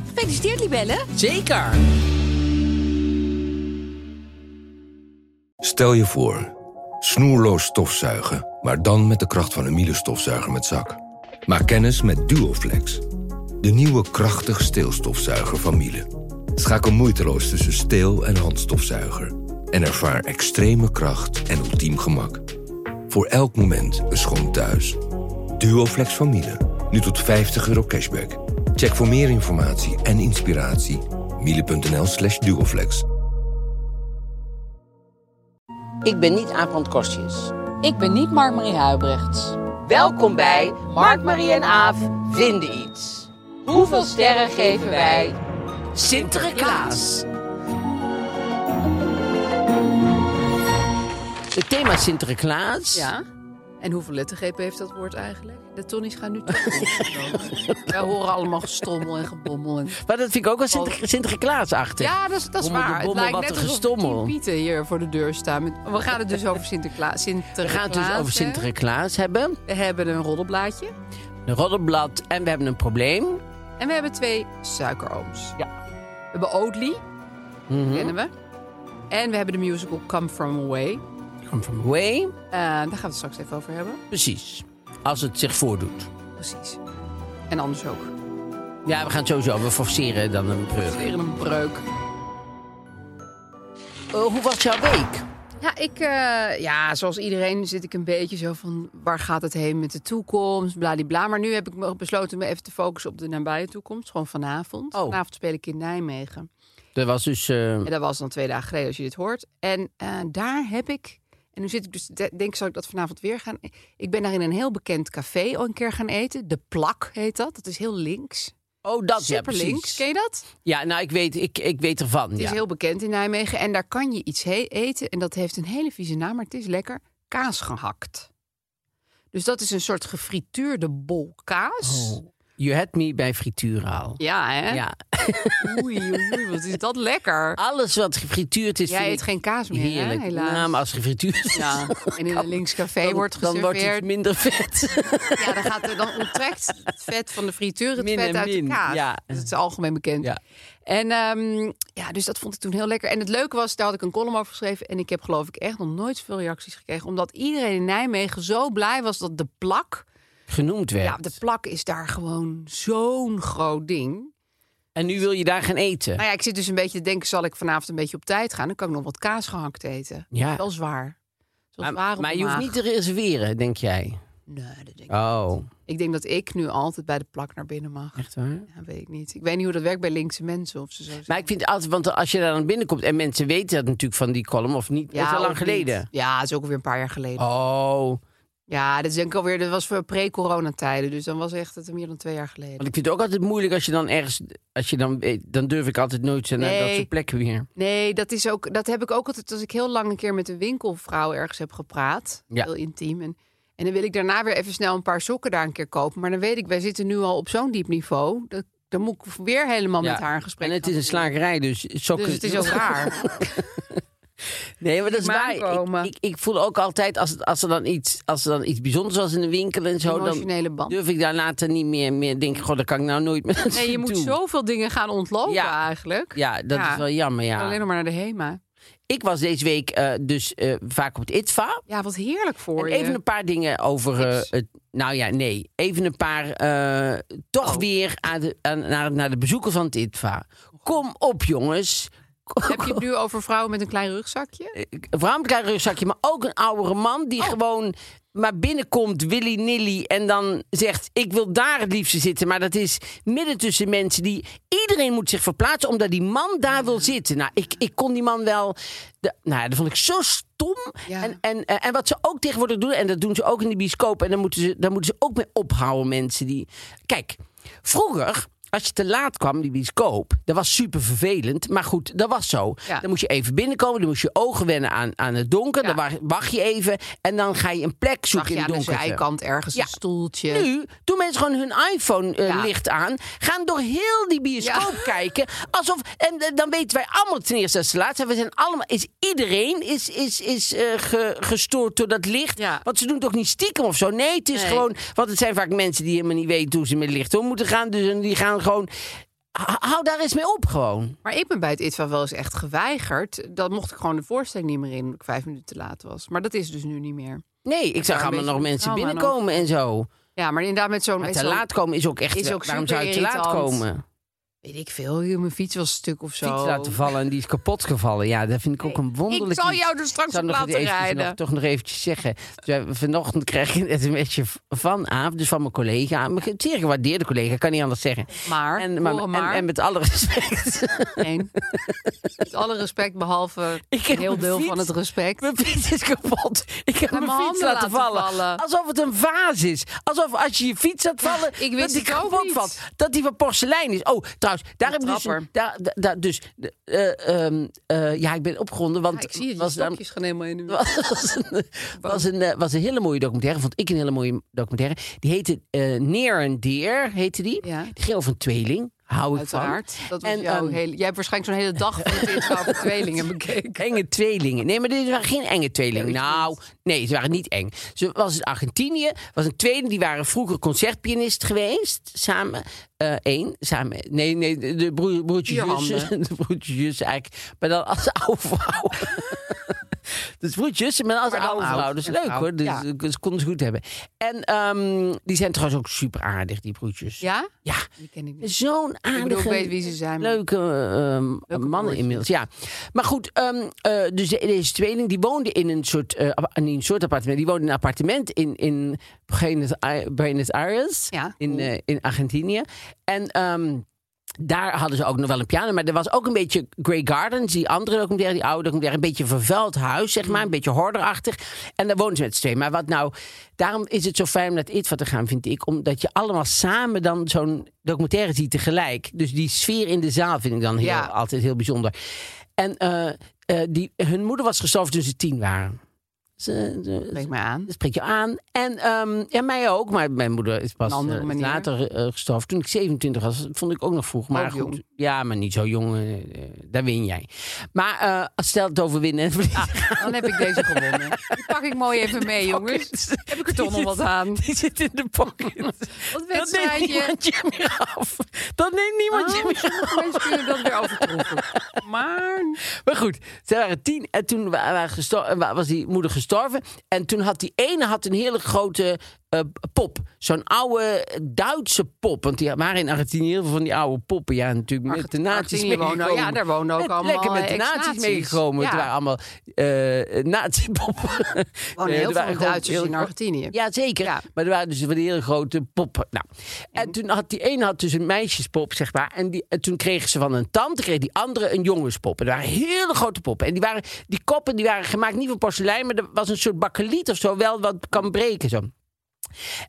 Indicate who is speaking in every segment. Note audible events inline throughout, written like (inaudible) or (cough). Speaker 1: Gefeliciteerd, Libelle.
Speaker 2: Zeker!
Speaker 3: Stel je voor, snoerloos stofzuigen, maar dan met de kracht van een Miele stofzuiger met zak. Maak kennis met Duoflex, de nieuwe krachtig steelstofzuiger van Miele. Schakel moeiteloos tussen steel- en handstofzuiger en ervaar extreme kracht en ultiem gemak. Voor elk moment een schoon thuis. Duoflex van Miele, nu tot 50 euro cashback. Check voor meer informatie en inspiratie miele.nl slash duoflex.
Speaker 2: Ik ben niet Aaf Kostjes.
Speaker 4: Ik ben niet Mark-Marie Huibrechts.
Speaker 5: Welkom bij Mark, Marie en Aaf vinden iets. Hoeveel sterren geven wij Sinterklaas?
Speaker 2: Het thema is Sinterklaas.
Speaker 6: Ja. En hoeveel lettergrepen heeft dat woord eigenlijk? De Tonnies gaan nu
Speaker 2: (laughs)
Speaker 6: toch komen. Wij horen allemaal gestommel en gebommel. En...
Speaker 2: Maar dat vind ik ook wel
Speaker 5: Oh.
Speaker 2: Sinter Sinterklaasachtig.
Speaker 6: Ja, dat is, dat is
Speaker 2: Bommel de
Speaker 6: waar. Het
Speaker 2: bommel,
Speaker 6: lijkt
Speaker 2: wat
Speaker 6: net
Speaker 2: een
Speaker 6: alsof er
Speaker 2: gestommel.
Speaker 6: tien pieten hier voor de deur staan. Met... We gaan het dus over Sinterklaas.
Speaker 2: (laughs)
Speaker 6: Sinterklaas
Speaker 2: We gaan het dus over
Speaker 6: hè?
Speaker 2: Sinterklaas hebben.
Speaker 6: We hebben een roddelblaadje.
Speaker 2: Een roddelblad en we hebben een probleem.
Speaker 6: En we hebben twee suikerooms.
Speaker 2: Ja. Mhm.
Speaker 6: We hebben Oatly, kennen we. En we hebben de musical Come From Away.
Speaker 2: Come from away.
Speaker 6: Eh, daar gaan we het straks even over hebben.
Speaker 2: Precies. Als het zich voordoet.
Speaker 6: Precies. En anders ook.
Speaker 2: Ja, we gaan het sowieso. We forceren dan een brug.
Speaker 6: Weer een breuk.
Speaker 2: Eh, hoe was jouw week?
Speaker 6: Ja, ik, eh, ja, zoals iedereen zit ik een beetje zo van waar gaat het heen met de toekomst, bladibla. Maar nu heb ik me besloten me even te focussen op de nabije toekomst, gewoon vanavond.
Speaker 2: Oh.
Speaker 6: Vanavond speel ik in Nijmegen.
Speaker 2: Er was dus... eh,
Speaker 6: En dat was dan twee dagen geleden als je dit hoort. En eh, daar heb ik, en nu zit ik dus, te denk zal ik dat vanavond weer gaan. e-? Ik ben daar in een heel bekend café al een keer gaan eten. De Plak heet dat, dat is heel links.
Speaker 2: oh, dat ja,
Speaker 6: Super
Speaker 2: precies.
Speaker 6: links, ken je dat?
Speaker 2: Ja, nou, ik weet, ik, ik weet ervan.
Speaker 6: Het
Speaker 2: Ja.
Speaker 6: is heel bekend in Nijmegen en daar kan je iets he- eten. En dat heeft een hele vieze naam, maar het is lekker kaas gehakt. Dus dat is een soort gefrituurde bol kaas.
Speaker 2: Oh, You had me bij frituuraal.
Speaker 6: Ja, hè?
Speaker 2: Ja.
Speaker 6: Oei, oei, oei, wat is dat
Speaker 2: (laughs)
Speaker 6: lekker.
Speaker 2: Alles wat gefrituurd is,
Speaker 6: Jij
Speaker 2: vind
Speaker 6: eet
Speaker 2: ik
Speaker 6: geen kaas meer, hè,
Speaker 2: heerlijk.
Speaker 6: helaas.
Speaker 2: Nou, maar als gefrituurd is,
Speaker 6: Ja, en in een links café
Speaker 2: dan,
Speaker 6: wordt
Speaker 2: dan
Speaker 6: geserveerd.
Speaker 2: wordt het minder
Speaker 6: (laughs)
Speaker 2: vet.
Speaker 6: Ja, dan, gaat er, dan onttrekt het vet van de frituur het
Speaker 2: Min
Speaker 6: vet
Speaker 2: en
Speaker 6: uit
Speaker 2: min,
Speaker 6: de kaas.
Speaker 2: ja.
Speaker 6: Dus het is algemeen bekend.
Speaker 2: Ja.
Speaker 6: En ehm, ja, dus dat vond ik toen heel lekker. En het leuke was, daar had ik een column over geschreven. En ik heb geloof ik echt nog nooit zoveel reacties gekregen. Omdat iedereen in Nijmegen zo blij was dat de plak...
Speaker 2: Genoemd werd.
Speaker 6: Ja, de plak is daar gewoon zo'n groot ding.
Speaker 2: En nu wil je daar gaan eten.
Speaker 6: Nou ja, ik zit dus een beetje te denken, zal ik vanavond een beetje op tijd gaan? Dan kan ik nog wat kaas gehakt eten.
Speaker 2: Ja.
Speaker 6: Wel zwaar.
Speaker 2: Maar,
Speaker 6: Wel zwaar op
Speaker 2: maar
Speaker 6: de
Speaker 2: je hoeft
Speaker 6: maag.
Speaker 2: niet te reserveren, denk jij.
Speaker 6: Nee, dat denk ik.
Speaker 2: Oh,
Speaker 6: Ik denk dat ik nu altijd bij de plak naar binnen mag.
Speaker 2: echt waar?
Speaker 6: Ja, weet ik niet. Ik weet niet hoe dat werkt bij linkse mensen of ze zo zijn.
Speaker 2: Maar ik vind altijd, want als je daar dan binnenkomt... en mensen weten dat natuurlijk van die column of niet, dat is al
Speaker 6: of
Speaker 2: lang
Speaker 6: niet.
Speaker 2: geleden.
Speaker 6: Ja, dat is ook alweer een paar jaar geleden.
Speaker 2: Oh,
Speaker 6: Ja, dat is denk ik alweer, dat was voor pre-coronatijden. Dus dan was echt het meer dan twee jaar geleden.
Speaker 2: want ik vind het ook altijd moeilijk als je dan ergens... Als je dan, weet- dan durf ik altijd nooit zo naar dat
Speaker 6: Nee.
Speaker 2: soort plekken weer.
Speaker 6: Nee, dat, is ook, dat heb ik ook altijd als ik heel lang een keer met een winkelvrouw ergens heb gepraat.
Speaker 2: Ja.
Speaker 6: Heel intiem. En, en dan wil ik daarna weer even snel een paar sokken daar een keer kopen. Maar dan weet ik, wij zitten nu al op zo'n diep niveau. Dat, dan moet ik weer helemaal
Speaker 2: Ja.
Speaker 6: met haar een gesprek
Speaker 2: En het
Speaker 6: gaan
Speaker 2: is een
Speaker 6: voeren.
Speaker 2: slagerij, dus sokken...
Speaker 6: Dus het
Speaker 2: (laughs)
Speaker 6: is ook raar.
Speaker 2: Nee, maar dat is
Speaker 6: maar
Speaker 2: waar.
Speaker 6: aankomen.
Speaker 2: Ik, ik, ik voel ook altijd, als, het- als, er dan iets, als er dan iets bijzonders was in de winkel en zo... dan Dus
Speaker 6: Emotionele band.
Speaker 2: durf ik daar later niet meer, meer denken... god, dat kan ik nou nooit meer (laughs)
Speaker 6: Nee, je moet
Speaker 2: doen.
Speaker 6: zoveel dingen gaan ontlopen
Speaker 2: Ja.
Speaker 6: eigenlijk.
Speaker 2: Ja, dat
Speaker 6: Ja.
Speaker 2: is wel jammer, ja.
Speaker 6: Alleen nog maar naar de HEMA.
Speaker 2: Ik was deze week eh, dus eh, vaak op het ITVA.
Speaker 6: Ja, wat heerlijk voor
Speaker 2: En
Speaker 6: je.
Speaker 2: even een paar dingen over eh,
Speaker 6: Tips.
Speaker 2: het. Nou ja, nee. Even een paar. eh, toch
Speaker 6: Oh.
Speaker 2: weer aan de, aan, naar, naar de bezoekers van het ITVA. Kom op, jongens.
Speaker 6: Heb (laughs) je het nu over vrouwen met een klein rugzakje?
Speaker 2: Een vrouw met een klein rugzakje, maar ook een oudere man
Speaker 6: Oh.
Speaker 2: die gewoon maar binnenkomt, willy-nilly, en dan zegt: Ik wil daar het liefste zitten. Maar dat is midden tussen mensen die. Iedereen moet zich verplaatsen omdat die man daar wil zitten. Nou, ik, ik kon die man wel. De, nou, ja, dat vond ik zo stom.
Speaker 6: Ja.
Speaker 2: En, en, eh, en wat ze ook tegenwoordig doen, en dat doen ze ook in de bioscoop, en daar moeten ze, daar moeten ze ook mee ophouden, mensen die. Kijk, vroeger als je te laat kwam, die bioscoop, dat was super vervelend. Maar goed, dat was zo.
Speaker 6: Ja.
Speaker 2: Dan moest je even binnenkomen, dan moest je ogen wennen aan, aan het donker.
Speaker 6: Ja.
Speaker 2: Dan wa- wacht je even en dan ga je een plek
Speaker 6: Zag
Speaker 2: zoeken
Speaker 6: je
Speaker 2: in
Speaker 6: aan
Speaker 2: de
Speaker 6: de
Speaker 2: donkerte.
Speaker 6: zijkant ergens
Speaker 2: Ja.
Speaker 6: een stoeltje.
Speaker 2: Nu doen mensen gewoon hun
Speaker 6: Ja.
Speaker 2: iPhone-licht aan. Gaan door heel die bioscoop kijken. Alsof, en eh, dan weten wij allemaal ten eerste dat ze laat zijn. We zijn allemaal, is iedereen is, is, is eh, ge- gestoord door dat licht.
Speaker 6: Ja.
Speaker 2: Want ze doen het ook niet stiekem of zo. Nee, het is
Speaker 6: Nee.
Speaker 2: gewoon... Want het zijn vaak mensen die helemaal niet weten hoe ze met licht om moeten gaan. Dus en die gaan gewoon... h- Hou daar eens mee op gewoon.
Speaker 6: Maar ik ben bij het ITVA wel eens echt geweigerd. Dan mocht ik gewoon de voorstelling niet meer in, omdat ik vijf minuten te laat was. Maar dat is dus nu niet meer.
Speaker 2: Nee, ik zag
Speaker 6: daar een
Speaker 2: allemaal nog
Speaker 6: beetje
Speaker 2: mensen
Speaker 6: trauma nog.
Speaker 2: binnenkomen en zo.
Speaker 6: Ja, maar inderdaad met zo'n...
Speaker 2: Maar
Speaker 6: met
Speaker 2: te
Speaker 6: zo'n-
Speaker 2: laat komen is ook echt...
Speaker 6: is ook
Speaker 2: waarom zou je te laat
Speaker 6: superirritant.
Speaker 2: komen?
Speaker 6: Weet ik veel, joh, mijn fiets was stuk of zo.
Speaker 2: Fiets laten vallen en die is kapot gevallen. Ja, dat vind ik ook een wonderlijk
Speaker 6: Ik zal
Speaker 2: iets.
Speaker 6: jou er straks
Speaker 2: zou
Speaker 6: op
Speaker 2: nog
Speaker 6: laten
Speaker 2: eventjes
Speaker 6: rijden.
Speaker 2: nog- toch nog eventjes zeggen. Dus, eh, vanochtend kreeg ik een sms'je van Aaf, dus van mijn collega. Mijn zeer gewaardeerde collega, kan niet anders zeggen.
Speaker 6: Maar,
Speaker 2: En, maar,
Speaker 6: horen
Speaker 2: en,
Speaker 6: maar.
Speaker 2: en met alle respect.
Speaker 6: (laughs) Nee. Met alle respect,
Speaker 2: (laughs)
Speaker 6: behalve
Speaker 2: Ik heb
Speaker 6: een heel
Speaker 2: mijn
Speaker 6: deel
Speaker 2: fiets-
Speaker 6: van het respect.
Speaker 2: Mijn fiets is kapot. Ik heb
Speaker 6: mijn
Speaker 2: mijn fiets
Speaker 6: handen
Speaker 2: laten
Speaker 6: laten
Speaker 2: vallen.
Speaker 6: vallen.
Speaker 2: Alsof het een vaas is. Alsof als je je fiets laat vallen,
Speaker 6: ik wist
Speaker 2: dat die
Speaker 6: het ook
Speaker 2: kapot
Speaker 6: niet.
Speaker 2: valt. Dat die van porselein is. Oh, trouwens, daar
Speaker 6: Een
Speaker 2: heb ik dus...
Speaker 6: trapper.
Speaker 2: Daar, daar- daar, dus eh, ehm, eh, ja, ik ben opgewonden, want...
Speaker 6: Ja, ik zie het, je
Speaker 2: was namelijk-
Speaker 6: stokjes gaan helemaal in de muur.
Speaker 2: (laughs) was een, was, een, eh, was een hele mooie documentaire. Vond ik een hele mooie documentaire. Die heette eh Neer en Deer, heette die.
Speaker 6: Ja.
Speaker 2: Die ging over een tweeling. Hou ik
Speaker 6: Uiteraard.
Speaker 2: van.
Speaker 6: Dat was
Speaker 2: En,
Speaker 6: jouw
Speaker 2: ehm,
Speaker 6: hele... Jij hebt waarschijnlijk zo'n hele dag van het ITVA voor (laughs) tweelingen
Speaker 2: (laughs)
Speaker 6: bekeken.
Speaker 2: Enge tweelingen. Nee, maar dit waren geen enge tweelingen. Nou, nee, ze waren niet eng. Ze was in Argentinië. was een tweeling, die waren vroeger concertpianist geweest. Samen, eh één, samen. Nee, nee, de- de broer, broertjes,
Speaker 6: Vier
Speaker 2: jussen. (laughs)
Speaker 6: handen.
Speaker 2: De broertjes, jussen eigenlijk. Maar dan als (laughs) oude vrouw. Dus broertjes, jussen, maar dan als
Speaker 6: Maar dan
Speaker 2: oude
Speaker 6: oud
Speaker 2: vrouw. Dat is
Speaker 6: en
Speaker 2: leuk
Speaker 6: vrouw.
Speaker 2: hoor. Dus,
Speaker 6: Ja.
Speaker 2: dus konden ze goed hebben. En ehm, die zijn trouwens ook super aardig, die broertjes.
Speaker 6: Ja? Dus-
Speaker 2: ja.
Speaker 6: Die ken ik niet.
Speaker 2: Zo'n aardige...
Speaker 6: Ik bedoel, ik weet wie ze zijn. maar-
Speaker 2: Leuke, eh, ehm, mannen
Speaker 6: broertjes.
Speaker 2: inmiddels, ja. Maar goed, ehm, eh, dus de- deze tweeling die woonde in een soort, eh, appa- niet een soort appartement. Die woonde in een appartement in, in Buenos Ai- Buenos Aires,
Speaker 6: Ja,
Speaker 2: in,
Speaker 6: cool.
Speaker 2: eh, in Argentinië. En ehm, daar hadden ze ook nog wel een piano. Maar er was ook een beetje Grey Gardens, die andere documentaire, die oude documentaire. Een beetje een vervuild huis, zeg maar. Een beetje horderachtig. En daar woonden ze met z'n tweeën. Maar wat nou... Daarom is het zo fijn om naar het ITVA te gaan, vind ik. Omdat je allemaal samen dan zo'n documentaire ziet tegelijk. Dus die sfeer in de zaal vind ik dan heel,
Speaker 6: Ja.
Speaker 2: altijd heel bijzonder. En eh, eh, die, hun moeder was gestorven toen ze tien waren. Ze, ze-
Speaker 6: Spreek mij aan.
Speaker 2: dat spreekt je aan. En ehm, ja, mij ook. Maar mijn moeder is pas
Speaker 6: Een andere
Speaker 2: eh,
Speaker 6: manier.
Speaker 2: later eh, gestorven. Toen ik 27 was, vond ik ook nog vroeg. Maar
Speaker 6: Ook
Speaker 2: goed,
Speaker 6: jong.
Speaker 2: ja, maar niet zo jong. eh, eh, daar win jij. Maar eh, als stel het over (laughs) winnen. en
Speaker 6: Ah,
Speaker 2: verliezen.
Speaker 6: dus Dan heb ik deze gewonnen. Die pak ik mooi even mee, jongens. Heb ik (laughs) Ah. er toch nog wat aan?
Speaker 2: Die zit in de
Speaker 6: (laughs)
Speaker 2: pocket.
Speaker 6: Wat
Speaker 2: Dat neemt
Speaker 6: wedstrijdje.
Speaker 2: niemand je meer af. Dat neemt niemand je
Speaker 6: (laughs) Oh,
Speaker 2: meer
Speaker 6: sommige mensen kunnen dat weer overtroeven. Maar
Speaker 2: Maar goed, ze waren tien en toen wa- waren gesto- eh, wa- was die moeder gestorven. En toen had die ene had een hele grote eh, pop. Zo'n oude Duitse pop. Want die waren in Argentinië heel veel van die oude poppen. Ja, natuurlijk met de nazi's
Speaker 6: Argentinië wonen-
Speaker 2: meegekomen.
Speaker 6: ja, daar wonen ook
Speaker 2: Met-
Speaker 6: allemaal,
Speaker 2: Lekker met de
Speaker 6: eh,
Speaker 2: nazi's
Speaker 6: ex-nazi's.
Speaker 2: meegekomen.
Speaker 6: Ja.
Speaker 2: Het waren allemaal eh nazi-poppen. (laughs)
Speaker 6: wonen
Speaker 2: Eh, er waren
Speaker 6: heel veel
Speaker 2: gewoon
Speaker 6: Duitsers
Speaker 2: heel-
Speaker 6: in Argentinië.
Speaker 2: Ja, zeker.
Speaker 6: Ja.
Speaker 2: Maar er waren dus van die hele grote poppen. Nou, en toen had die ene had dus een meisjespop, zeg maar. En, die, en toen kregen ze van een tante, kreeg die andere een jongenspop. En dat waren hele grote poppen. En die, waren, die koppen die waren gemaakt niet van porselein, maar er was een soort bakkeliet of zo, wel wat kan breken zo.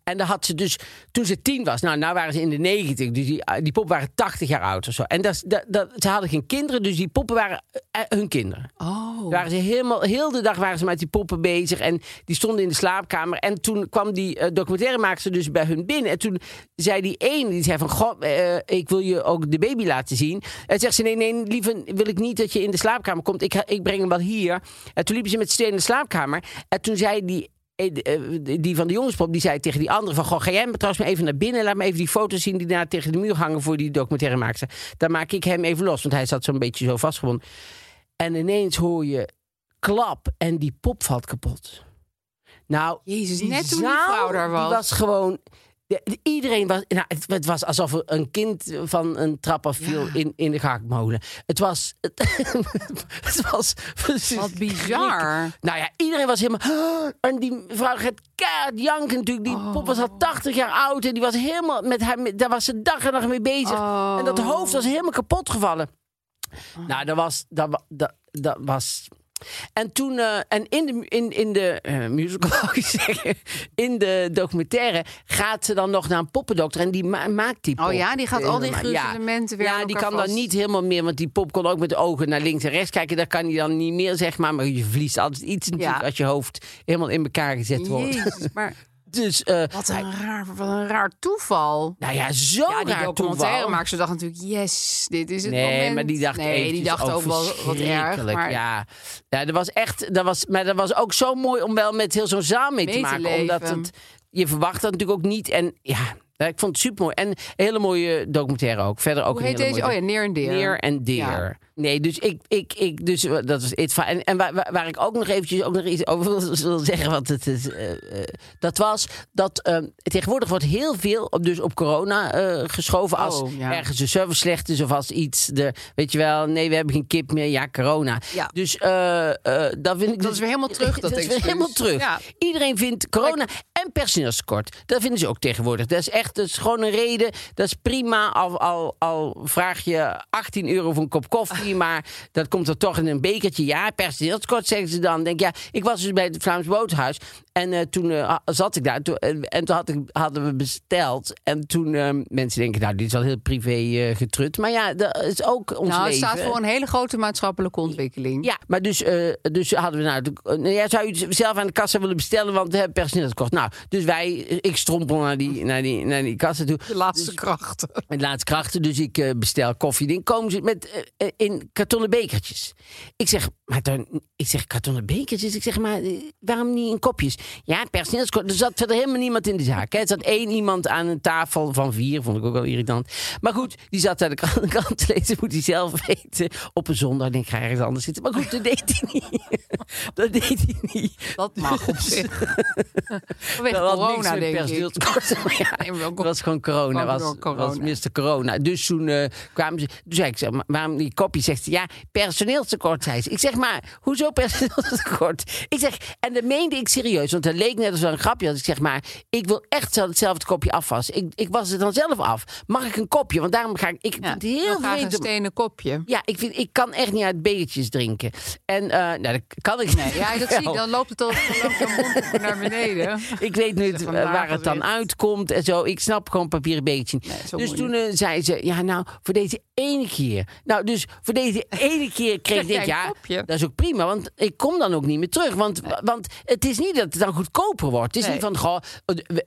Speaker 2: En daar had ze dus, toen ze tien was, nou, nou waren ze in de negentig, dus die, die poppen waren 80 jaar oud of zo. En dat, dat, dat, ze hadden geen kinderen, dus die poppen waren eh, hun kinderen.
Speaker 6: Oh.
Speaker 2: Waren ze helemaal, heel de dag waren ze met die poppen bezig. En die stonden in de slaapkamer. En toen kwam die eh, documentairemaakster dus bij hun binnen. En toen zei die een, die zei van... Goh, eh, ik wil je ook de baby laten zien. En zegt ze, nee, nee, liever wil ik niet dat je in de slaapkamer komt. Ik, ga- ik breng hem wel hier. En toen liepen ze met z'n tweeën in de slaapkamer. En toen zei die... eh, eh, Die van de jongenspop, die zei tegen die andere van... Goh, ga jij me trouwens maar even naar binnen. Laat me even die foto's zien die daar tegen de muur hangen... voor die documentairemaakster. Dan maak ik hem even los. Want hij zat zo'n beetje zo vastgebonden. En ineens hoor je klap en die pop valt kapot. Nou,
Speaker 6: Jezus,
Speaker 2: die
Speaker 6: net toen die
Speaker 2: zaal,
Speaker 6: vrouw daar was.
Speaker 2: Die was gewoon. de- de- Iedereen was. Nou, het, het was alsof er een kind van een trap af viel
Speaker 6: Ja.
Speaker 2: in, in de gehaktmolen. Het was. Het, (laughs) het was.
Speaker 6: Wat bizar.
Speaker 2: Nou ja, iedereen was helemaal. (gasps) En die vrouw gaat keihard janken natuurlijk. Die pop was
Speaker 6: Oh.
Speaker 2: al 80 jaar oud en die was helemaal met haar. Daar was ze dag en nacht mee bezig.
Speaker 6: Oh.
Speaker 2: En dat hoofd was helemaal kapot gevallen. Nou, dat was. Dat, wa- dat, dat was En toen, eh, en in de, mu- in, in de eh, musical, (laughs) wou ik zeggen, in de documentaire, gaat ze dan nog naar een poppendokter en die ma- maakt die pop.
Speaker 6: Oh ja, die gaat al die
Speaker 2: Ja.
Speaker 6: gruzelementen weer aan
Speaker 2: Ja, die
Speaker 6: elkaar
Speaker 2: kan
Speaker 6: vast.
Speaker 2: dan niet helemaal meer, want die pop kon ook met de ogen naar links en rechts kijken. Dat kan hij dan niet meer, zeg maar. Maar je verliest altijd iets natuurlijk
Speaker 6: Ja.
Speaker 2: als je hoofd helemaal in elkaar gezet wordt.
Speaker 6: Jezus, maar
Speaker 2: (laughs) Dus, eh,
Speaker 6: wat een raar, wat een raar toeval.
Speaker 2: nou ja, zo
Speaker 6: Ja, die
Speaker 2: raar
Speaker 6: documentaire
Speaker 2: toeval.
Speaker 6: maakt ze dacht natuurlijk, yes, dit is het
Speaker 2: nee,
Speaker 6: moment.
Speaker 2: maar die dacht
Speaker 6: nee, die
Speaker 2: eventjes,
Speaker 6: dacht
Speaker 2: oh,
Speaker 6: ook wel wat erg.
Speaker 2: verschrikkelijk,
Speaker 6: Maar
Speaker 2: Ja, ja dat was echt, dat was, maar dat was ook zo mooi om wel met heel zo'n zaal mee,
Speaker 6: Mee
Speaker 2: te
Speaker 6: te
Speaker 2: maken. omdat
Speaker 6: leven.
Speaker 2: het, je verwacht dat natuurlijk ook niet. En ja, ja, ik vond het super mooi. En een hele mooie documentaire ook. Verder ook
Speaker 6: hoe
Speaker 2: een
Speaker 6: heet
Speaker 2: hele
Speaker 6: deze? Oh
Speaker 2: mooie
Speaker 6: ja, Neer en Deer.
Speaker 2: Neer en deer.
Speaker 6: Ja.
Speaker 2: Nee, dus ik, ik, ik, dus eh, dat was it. En, en waar, waar- waar ik ook nog eventjes ook nog iets over (laughs) wil, wil zeggen, want het is, eh, eh, dat was dat eh, tegenwoordig wordt heel veel op, dus op corona eh, geschoven als
Speaker 6: Oh, ja.
Speaker 2: ergens de service slecht is of als iets, de, weet je wel, nee, we hebben geen kip meer, ja, corona.
Speaker 6: Ja.
Speaker 2: Dus eh, eh, dat vind ik.
Speaker 6: Dat is weer helemaal
Speaker 2: (laughs)
Speaker 6: terug,
Speaker 2: dat
Speaker 6: dat
Speaker 2: is weer
Speaker 6: excuus.
Speaker 2: helemaal terug.
Speaker 6: Ja.
Speaker 2: Iedereen vindt corona en personeelstekort. Dat vinden ze ook tegenwoordig. Dat is echt dat is gewoon een reden. Dat is prima. Al, al, al vraag je 18 euro voor een kop koffie, (laughs) maar dat komt er toch in een bekertje. Ja, personeelstekort zeggen ze dan. Denk ja, ik was dus bij het Vlaams Boothuis en eh, toen eh, ha- zat ik daar Toen- en- en toen had ik, hadden we besteld en toen eh, mensen denken, nou, dit is wel heel privé eh, getrut, maar ja, dat is ook ons
Speaker 6: Nou, het
Speaker 2: leven.
Speaker 6: staat voor een hele grote maatschappelijke ontwikkeling.
Speaker 2: Ja, maar dus, eh, dus hadden we nou... de- eh, nou ja, zou je het zelf aan de kassa willen bestellen, want we hebben personeelstekort. Nou, dus wij, ik strompel naar die, naar die, naar die kassa toe.
Speaker 6: De laatste krachten.
Speaker 2: Met laatste krachten, dus ik eh, bestel koffie. Dan komen ze met, eh, eh, in kartonnen bekertjes. Ik zeg, maar dan, ik zeg kartonnen bekertjes? Ik zeg, maar eh, waarom niet in kopjes? Ja, personeelskort. Er zat verder helemaal niemand in de zaak. Hè. Er zat één iemand aan een tafel van vier, vond ik ook wel irritant. Maar goed, die zat daar de (laughs) krant, de krant te lezen, moet hij zelf weten. Op een zondag, denk ik, ga ergens anders zitten. Maar goed, dat deed hij niet. (laughs) dat deed hij niet.
Speaker 6: Dat (laughs) mag op zich.
Speaker 2: (laughs)
Speaker 6: Vanwege
Speaker 2: Dat had niks
Speaker 6: corona,
Speaker 2: met
Speaker 6: denk ik.
Speaker 2: personeelstekort.
Speaker 6: (laughs)
Speaker 2: Maar ja,
Speaker 6: Nee, maar ook-
Speaker 2: het was gewoon corona.
Speaker 6: Kwam
Speaker 2: Was,
Speaker 6: door Oh, corona.
Speaker 2: was Mr. Corona. Dus toen eh, kwamen ze. Toen zei ik, zeg, maar, waarom die kopje? Zegt ze, ja, personeelstekort, zei ze. Ik zeg, maar, hoezo personeelstekort? (laughs) Ik zeg, en dat meende ik serieus. Want dat leek net als wel een grapje. had. ik zeg, maar, ik wil echt zo hetzelfde kopje afwassen. Ik, ik was het dan zelf af. Mag ik een kopje? Want daarom ga ik... Ik
Speaker 6: Ja,
Speaker 2: vind het heel
Speaker 6: graag een
Speaker 2: vreemd om-
Speaker 6: stenen kopje.
Speaker 2: Ja, ik, vind, ik kan echt niet uit bekertjes drinken. En, eh, nou, dat kan ik niet.
Speaker 6: Ja,
Speaker 2: (laughs)
Speaker 6: dat zie ik.
Speaker 2: Wel.
Speaker 6: Dan loopt het al dan loopt jouw mond naar
Speaker 2: (laughs)
Speaker 6: beneden.
Speaker 2: Ik weet niet eh,
Speaker 6: vandaag
Speaker 2: waar het dan
Speaker 6: weer.
Speaker 2: uitkomt en zo. Ik snap gewoon papieren beetje. niet.
Speaker 6: Nee, zo
Speaker 2: dus toen
Speaker 6: moeilijk.
Speaker 2: eh, zei ze, ja nou, voor deze ene keer. Nou, dus voor deze ene keer kreeg
Speaker 6: Krijg jij
Speaker 2: ik,
Speaker 6: een
Speaker 2: ja,
Speaker 6: kopje?
Speaker 2: dat is ook prima. Want ik kom dan ook niet meer terug. Want, want het is niet dat het dan goedkoper wordt. Het is
Speaker 6: Nee.
Speaker 2: niet van, goh,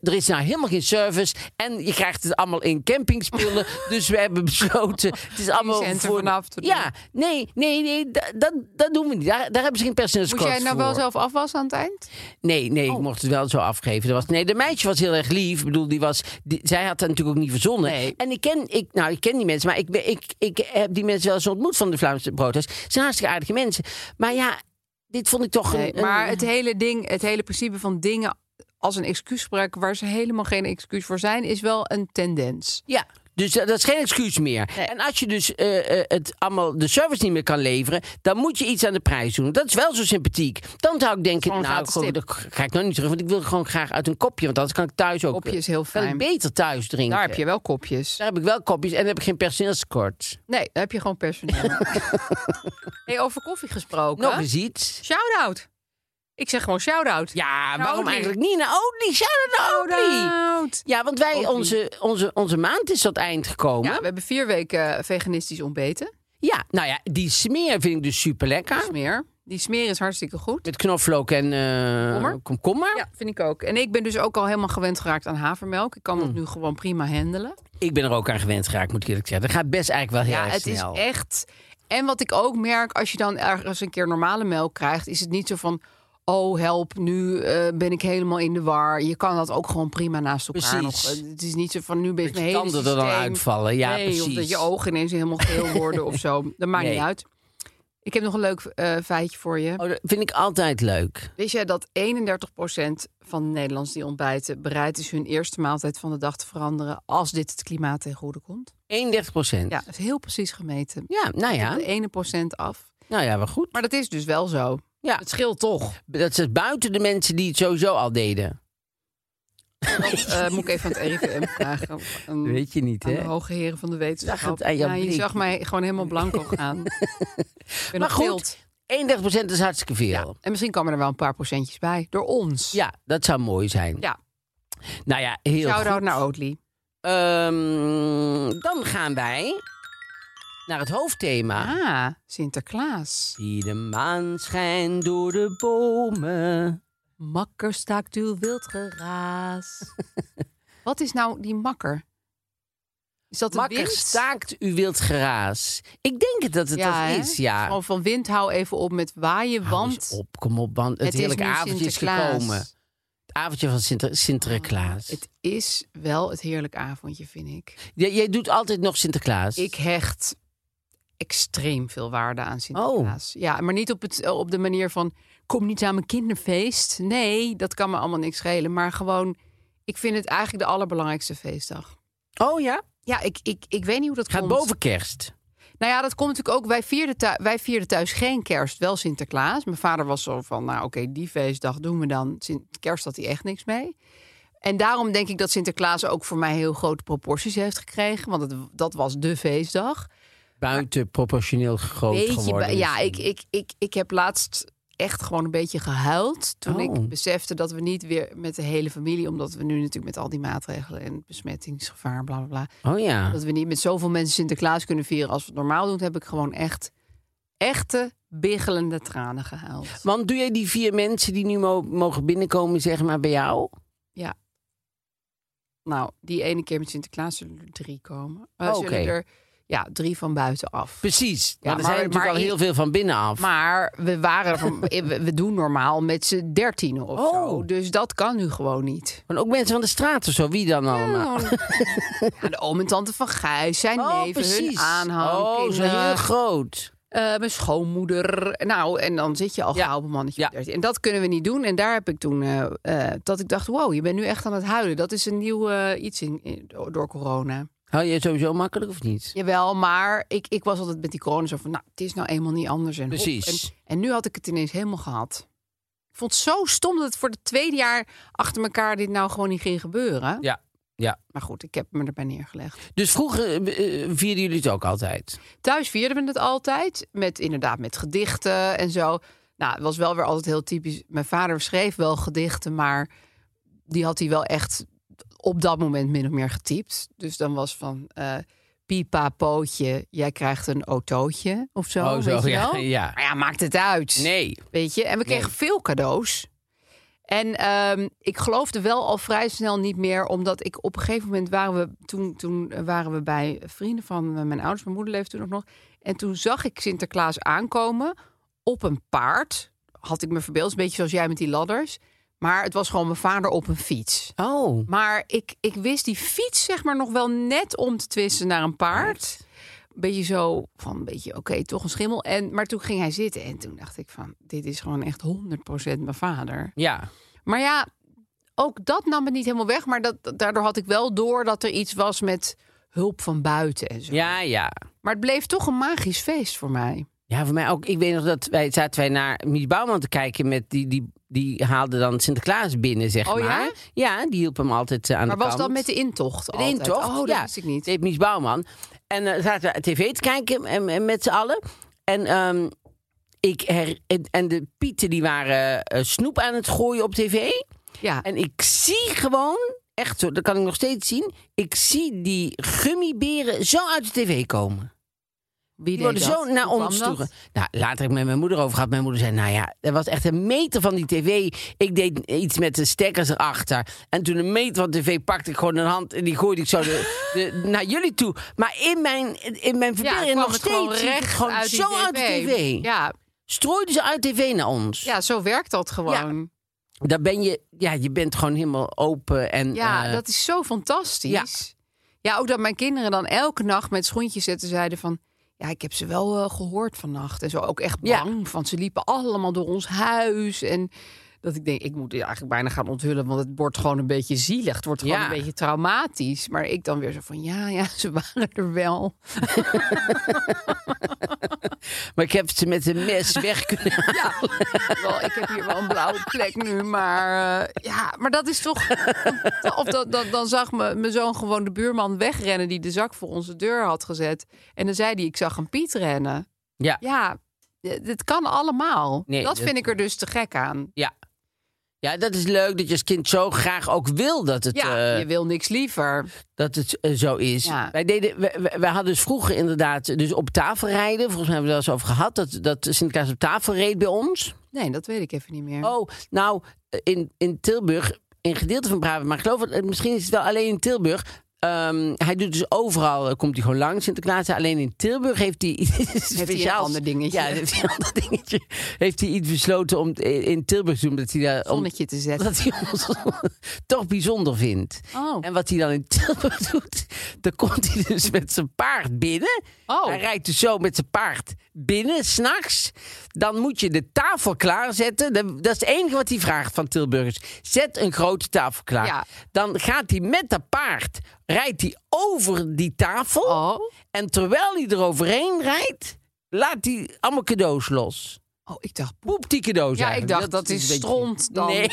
Speaker 2: er is nou helemaal geen service. En je krijgt het allemaal in
Speaker 6: (laughs)
Speaker 2: campingspullen. dus we hebben besloten, het is allemaal
Speaker 6: centen
Speaker 2: voor...
Speaker 6: vanaf te doen.
Speaker 2: Ja, nee, nee, nee, da- dat, dat doen we niet. Daar, daar hebben ze geen
Speaker 6: Moet
Speaker 2: personeelskosten
Speaker 6: jij nou wel
Speaker 2: voor.
Speaker 6: zelf afwassen aan het eind?
Speaker 2: Nee, nee,
Speaker 6: Oh.
Speaker 2: ik mocht het wel zo afgeven. Dat was, nee, de meisje was heel erg lief. Ik bedoel, die was, die- zij had dat natuurlijk ook niet verzonnen.
Speaker 6: Nee.
Speaker 2: En ik ken, ik, nou, ik ken die mensen, maar ik, ben- ik, ik heb die mensen wel eens ontmoet van de Vlaamse Broodhuis. Ze zijn hartstikke aardige mensen. Maar ja, dit vond ik toch
Speaker 6: Nee,
Speaker 2: een,
Speaker 6: maar
Speaker 2: een-
Speaker 6: het hele ding, het hele principe van dingen als een excuus gebruiken waar ze helemaal geen excuus voor zijn, is wel een tendens.
Speaker 2: Ja. Dus dat, dat is geen excuus meer. En als je dus eh, eh, het allemaal de service niet meer kan leveren, dan moet je iets aan de prijs doen. Dat is wel zo sympathiek. Dan zou ik denken,
Speaker 6: Gewoon een
Speaker 2: nou,
Speaker 6: gratis
Speaker 2: gewoon, dan
Speaker 6: tip.
Speaker 2: ga ik nog niet terug, want ik wil gewoon graag uit een kopje. Want anders kan ik thuis ook.
Speaker 6: Kopje is heel
Speaker 2: kan ik
Speaker 6: fijn.
Speaker 2: beter thuis drinken.
Speaker 6: Daar heb je wel kopjes.
Speaker 2: Daar heb ik wel kopjes en heb ik geen personeelstekort.
Speaker 6: Nee, daar heb je gewoon personeel.
Speaker 2: (laughs)
Speaker 6: hey, over koffie gesproken.
Speaker 2: Nog eens iets.
Speaker 6: Shout-out. Ik zeg gewoon shout-out.
Speaker 2: Ja,
Speaker 6: Naar
Speaker 2: waarom
Speaker 6: Oatly.
Speaker 2: eigenlijk niet naar Oatly? Shout out naar Oatly!
Speaker 6: Shout-out.
Speaker 2: Ja, want wij,
Speaker 6: Oatly.
Speaker 2: onze, onze, onze maand is tot eind gekomen.
Speaker 6: Ja,
Speaker 2: Ja.
Speaker 6: we hebben vier weken veganistisch ontbeten.
Speaker 2: nou ja, die smeer vind ik dus super lekker.
Speaker 6: Smeer. Die smeer is hartstikke goed.
Speaker 2: Met knoflook en eh,
Speaker 6: Komkommer.
Speaker 2: komkommer.
Speaker 6: Ja, vind ik ook. En ik ben dus ook al helemaal gewend geraakt aan havermelk. Ik kan
Speaker 2: Hmm.
Speaker 6: dat nu gewoon prima handelen.
Speaker 2: Ik ben er ook aan gewend geraakt, moet ik eerlijk zeggen. Dat gaat best eigenlijk wel heel
Speaker 6: Ja,
Speaker 2: erg
Speaker 6: het
Speaker 2: snel.
Speaker 6: is echt. En wat ik ook merk, als je dan ergens een keer normale melk krijgt, is het niet zo van. Oh, help, nu eh, ben ik helemaal in de war. Je kan dat ook gewoon prima naast elkaar
Speaker 2: Precies.
Speaker 6: nog. Eh, Het is niet zo van nu ben je
Speaker 2: Dat je
Speaker 6: mijn hele
Speaker 2: tanden er dan
Speaker 6: systeem-
Speaker 2: uitvallen. Ja,
Speaker 6: nee, Of dat
Speaker 2: precies.
Speaker 6: je ogen ineens helemaal
Speaker 2: (laughs)
Speaker 6: geel worden of zo. Dat maakt
Speaker 2: Nee.
Speaker 6: niet uit. Ik heb nog een leuk eh, feitje voor je.
Speaker 2: Oh, dat vind ik altijd leuk.
Speaker 6: Wist jij dat 31% van de Nederlanders die ontbijten bereid is hun eerste maaltijd van de dag te veranderen als dit het klimaat ten goede komt?
Speaker 2: 31 procent.
Speaker 6: Ja,
Speaker 2: Ja.
Speaker 6: dat is heel precies gemeten.
Speaker 2: nou ja.
Speaker 6: De ene procent af.
Speaker 2: Nou ja, maar goed.
Speaker 6: Maar dat is dus wel zo.
Speaker 2: Ja.
Speaker 6: Het scheelt toch.
Speaker 2: Dat is buiten de mensen die het sowieso al deden.
Speaker 6: Dat
Speaker 2: (laughs)
Speaker 6: eh, moet ik even aan het RIVM vragen. Aan,
Speaker 2: Weet je niet,
Speaker 6: aan de
Speaker 2: hè?
Speaker 6: hoge heren van de
Speaker 2: Zag
Speaker 6: wetenschap.
Speaker 2: het aan jouw
Speaker 6: Ja, je
Speaker 2: blik. (laughs)
Speaker 6: zag mij gewoon helemaal blanco gaan. Ik
Speaker 2: Maar
Speaker 6: ben nog
Speaker 2: goed,
Speaker 6: wild.
Speaker 2: 31% is hartstikke veel.
Speaker 6: En misschien komen er wel een paar procentjes bij. Door ons.
Speaker 2: Ja, dat zou mooi zijn.
Speaker 6: ja.
Speaker 2: Nou ja, heel goed.
Speaker 6: Shout-out naar Oatly.
Speaker 2: Ehm, dan gaan wij naar het hoofdthema.
Speaker 6: Ah, Sinterklaas.
Speaker 2: Zie de maan schijnt door de bomen.
Speaker 6: Makker staakt uw wild geraas. (laughs) Wat is nou die makker? Is dat de
Speaker 2: Makker
Speaker 6: wind?
Speaker 2: staakt uw wild geraas. Ik denk het dat het
Speaker 6: Ja,
Speaker 2: dat
Speaker 6: hè?
Speaker 2: is, ja.
Speaker 6: Gewoon van wind hou even op met waaien,
Speaker 2: Hou
Speaker 6: want
Speaker 2: eens op, kom op, want het,
Speaker 6: het is
Speaker 2: heerlijke
Speaker 6: nu
Speaker 2: avondje is
Speaker 6: Sinterklaas.
Speaker 2: gekomen. Het avondje van Sinter Sinterklaas.
Speaker 6: Oh, Het is wel het heerlijk avondje, vind ik.
Speaker 2: J- jij doet altijd nog Sinterklaas.
Speaker 6: Ik hecht extreem veel waarde aan Sinterklaas. Ja, maar niet op, het, eh, op de manier van... kom niet aan mijn kinderfeest. Nee, dat kan me allemaal niks schelen. Maar gewoon, ik vind het eigenlijk de allerbelangrijkste feestdag.
Speaker 2: Oh ja?
Speaker 6: Ja, ik, ik, ik weet niet hoe dat
Speaker 2: Gaat
Speaker 6: komt.
Speaker 2: boven kerst.
Speaker 6: Nou ja, dat komt natuurlijk ook. Wij vierden, thuis, wij vierden thuis geen kerst, wel Sinterklaas. Mijn vader was zo van, nou oké, die feestdag doen we dan. Sint- kerst had hij echt niks mee. En daarom denk ik dat Sinterklaas ook voor mij heel grote proporties heeft gekregen. Want het, dat was de feestdag.
Speaker 2: Buiten proportioneel groot geworden.
Speaker 6: bij- ja, ik,
Speaker 2: misschien.
Speaker 6: ik, ik, ik heb laatst echt gewoon een beetje gehuild. Toen
Speaker 2: Oh.
Speaker 6: ik besefte dat we niet weer met de hele familie... omdat we nu natuurlijk met al die maatregelen en besmettingsgevaar, bla bla bla...
Speaker 2: Oh ja.
Speaker 6: Dat we niet met zoveel mensen Sinterklaas kunnen vieren als we het normaal doen, heb ik gewoon echt echte biggelende tranen gehuild.
Speaker 2: Want doe jij die vier mensen die nu mo- mogen binnenkomen, zeg maar, bij jou?
Speaker 6: Nou, die ene keer met Sinterklaas zullen er drie komen. Eh,
Speaker 2: Oh, Oké.
Speaker 6: Zullen er ja, drie van buitenaf.
Speaker 2: Precies.
Speaker 6: Ja,
Speaker 2: maar er
Speaker 6: maar-
Speaker 2: zijn natuurlijk
Speaker 6: maar
Speaker 2: al
Speaker 6: ik-
Speaker 2: heel veel van binnenaf.
Speaker 6: Maar we waren van, (laughs) we, we doen normaal met z'n dertien of zo.
Speaker 2: Oh.
Speaker 6: Dus dat kan nu gewoon niet.
Speaker 2: Maar ook mensen van de straat of zo, wie dan allemaal?
Speaker 6: Ja, de oom en tante van Gijs, zijn
Speaker 2: Ah. Oh,
Speaker 6: neven, hun
Speaker 2: precies.
Speaker 6: aanhang,
Speaker 2: oh, zo
Speaker 6: kinderen.
Speaker 2: heel groot.
Speaker 6: Eh, mijn schoonmoeder. Nou, en dan zit je al
Speaker 2: Ja.
Speaker 6: gauw op een mannetje.
Speaker 2: Ja.
Speaker 6: op 13. En dat kunnen we niet doen. En daar heb ik toen eh, eh, dat ik dacht: wow, je bent nu echt aan het huilen. Dat is een nieuw eh, iets in, in- door corona.
Speaker 2: Hou je het sowieso makkelijk of niet?
Speaker 6: Jawel, maar ik, ik was altijd met die corona zo van: nou, het is nou eenmaal niet anders. En hop.
Speaker 2: Precies.
Speaker 6: En, en nu had ik het ineens helemaal gehad. Ik vond het zo stom dat het voor het tweede jaar achter elkaar dit nou gewoon niet ging gebeuren.
Speaker 2: Ja, ja.
Speaker 6: Maar goed, ik heb me erbij neergelegd.
Speaker 2: Dus vroeger eh, eh, vierden jullie het ook altijd?
Speaker 6: Thuis vierden we het altijd. Met inderdaad met gedichten en zo. Nou, het was wel weer altijd heel typisch. Mijn vader schreef wel gedichten, maar die had hij wel echt op dat moment min of meer getypt. Dus dan was van eh pipa pootje, jij krijgt een autootje of zo. weet je
Speaker 2: Oh, ja. (laughs)
Speaker 6: wel?
Speaker 2: ja.
Speaker 6: Maar ja, maakt het uit.
Speaker 2: Nee.
Speaker 6: Weet je? En we kregen veel cadeaus. En ehm, ik geloofde wel al vrij snel niet meer, omdat ik op een gegeven moment waren we toen, toen waren we bij vrienden van eh, mijn ouders, mijn moeder leefde toen ook nog. En toen zag ik Sinterklaas aankomen op een paard. Had ik me verbeeld, een beetje zoals jij met die ladders. Maar het was gewoon mijn vader op een fiets.
Speaker 2: Oh.
Speaker 6: Maar ik, ik wist die fiets zeg maar nog wel net om te twisten naar een paard. Beetje zo van, een beetje oké, toch een schimmel. En, maar toen ging hij zitten en toen dacht ik van, dit is gewoon echt 100% mijn vader.
Speaker 2: Ja.
Speaker 6: Maar ja, ook dat nam het niet helemaal weg. Maar dat, daardoor had ik wel door dat er iets was met hulp van buiten en zo.
Speaker 2: Ja, ja.
Speaker 6: Maar het bleef toch een magisch feest voor mij.
Speaker 2: Ja, voor mij ook. Ik weet nog dat wij zaten wij naar Mies Bouwman te kijken met die, die, die haalde dan Sinterklaas binnen, zeg
Speaker 6: Oh,
Speaker 2: maar.
Speaker 6: ja?
Speaker 2: Ja, die hielp hem altijd eh, aan
Speaker 6: Maar
Speaker 2: de
Speaker 6: was
Speaker 2: kant.
Speaker 6: dat met de intocht
Speaker 2: Met de
Speaker 6: altijd?
Speaker 2: intocht?
Speaker 6: Oh, dat
Speaker 2: ja.
Speaker 6: wist ik niet.
Speaker 2: Deed Mies Bouwman. En eh, zaten we tv te kijken en, en met z'n allen. En, ehm, ik her, en, en de Pieten die waren eh, snoep aan het gooien op tv.
Speaker 6: Ja.
Speaker 2: En ik zie gewoon, echt zo, dat kan ik nog steeds zien. Ik zie die gummiberen zo uit de tv komen.
Speaker 6: Wie
Speaker 2: Die
Speaker 6: deed
Speaker 2: worden
Speaker 6: dat?
Speaker 2: zo naar
Speaker 6: Hoe
Speaker 2: ons
Speaker 6: kwam dat?
Speaker 2: toe. Nou, later heb ik met mijn moeder over gehad. Mijn moeder zei, nou ja, er was echt een meter van die tv. Ik deed iets met de stekkers erachter. En toen een meter van de tv pakte ik gewoon een hand... en die gooide ik zo
Speaker 6: (laughs)
Speaker 2: de, de- naar jullie toe. Maar in mijn, in mijn
Speaker 6: Ja,
Speaker 2: verbeelding
Speaker 6: kwam
Speaker 2: nog
Speaker 6: het
Speaker 2: steeds...
Speaker 6: gewoon
Speaker 2: zie ik het
Speaker 6: recht
Speaker 2: gewoon
Speaker 6: uit die
Speaker 2: zo uit de tv.
Speaker 6: Ja,
Speaker 2: Strooiden ze uit de tv naar ons.
Speaker 6: ja, zo werkt dat gewoon.
Speaker 2: Daar ben je... Ja, je bent gewoon helemaal open en...
Speaker 6: Ja,
Speaker 2: eh,
Speaker 6: dat is zo fantastisch. Ja. ook dat mijn kinderen dan elke nacht met schoentjes zetten zeiden van... Ja, ik heb ze wel eh, gehoord vannacht. En zo ook echt
Speaker 2: Ja.
Speaker 6: bang, want ze liepen allemaal door ons huis. En dat ik denk, ik moet dit eigenlijk bijna gaan onthullen... want het wordt gewoon een beetje zielig. Het wordt gewoon
Speaker 2: Ja.
Speaker 6: een beetje traumatisch. Maar ik dan weer zo van, ja, ja, (laughs) ze waren er wel.
Speaker 2: Maar ik heb ze met een mes weg kunnen
Speaker 6: (laughs)
Speaker 2: halen.
Speaker 6: Ja, wel, ik heb hier wel een blauwe plek nu, maar eh, ja, maar dat is toch. Of dan, dan, dan zag me, mijn zoon gewoon de buurman wegrennen die de zak voor onze deur had gezet. En dan zei hij: Ik zag een Piet rennen.
Speaker 2: Ja.
Speaker 6: Ja, Dit kan allemaal.
Speaker 2: Nee,
Speaker 6: dat,
Speaker 2: dat-
Speaker 6: vind ik er dus te gek aan.
Speaker 2: Ja. Ja, dat is leuk dat je als kind zo graag ook wil dat het,
Speaker 6: Ja,
Speaker 2: eh,
Speaker 6: je wil niks liever.
Speaker 2: dat het eh, zo is.
Speaker 6: Ja.
Speaker 2: Wij, deden, wij, wij- wij hadden dus vroeger inderdaad dus op tafel rijden. Volgens mij hebben we het wel eens over gehad. Dat, dat Sinterklaas op tafel reed bij ons.
Speaker 6: Nee, dat weet ik even niet meer.
Speaker 2: Oh, nou, in, in Tilburg, in gedeelte van Brabant, maar ik geloof, dat- eh, misschien is het wel alleen in Tilburg. Ehm, hij doet dus overal, eh, komt hij gewoon langs Sinterklaas. Alleen in Tilburg heeft hij iets
Speaker 6: een
Speaker 2: speciaals.
Speaker 6: ander dingetje.
Speaker 2: Ja, heeft hij een ander dingetje. Heeft hij iets besloten om t- in Tilburg te doen, dat hij daar... om-
Speaker 6: Zonnetje te zetten.
Speaker 2: (laughs) dat hij ons (laughs) toch bijzonder vindt.
Speaker 6: Oh.
Speaker 2: En wat hij dan in Tilburg (laughs) doet, dan komt hij dus met zijn paard binnen.
Speaker 6: Oh.
Speaker 2: Hij rijdt dus zo met zijn paard binnen, s'nachts. Dan moet je de tafel klaarzetten. Dat dat is het enige wat hij vraagt van Tilburgers. Zet een grote tafel klaar.
Speaker 6: Ja.
Speaker 2: Dan gaat hij met dat paard, rijdt hij over die tafel.
Speaker 6: Oh.
Speaker 2: En terwijl hij eroverheen rijdt, laat hij allemaal cadeaus los.
Speaker 6: Oh, ik dacht, poep.
Speaker 2: Poep die cadeaus
Speaker 6: Ja, ik
Speaker 2: eigenlijk.
Speaker 6: dacht, dat is
Speaker 2: een beetje-
Speaker 6: stront dan.
Speaker 2: Nee,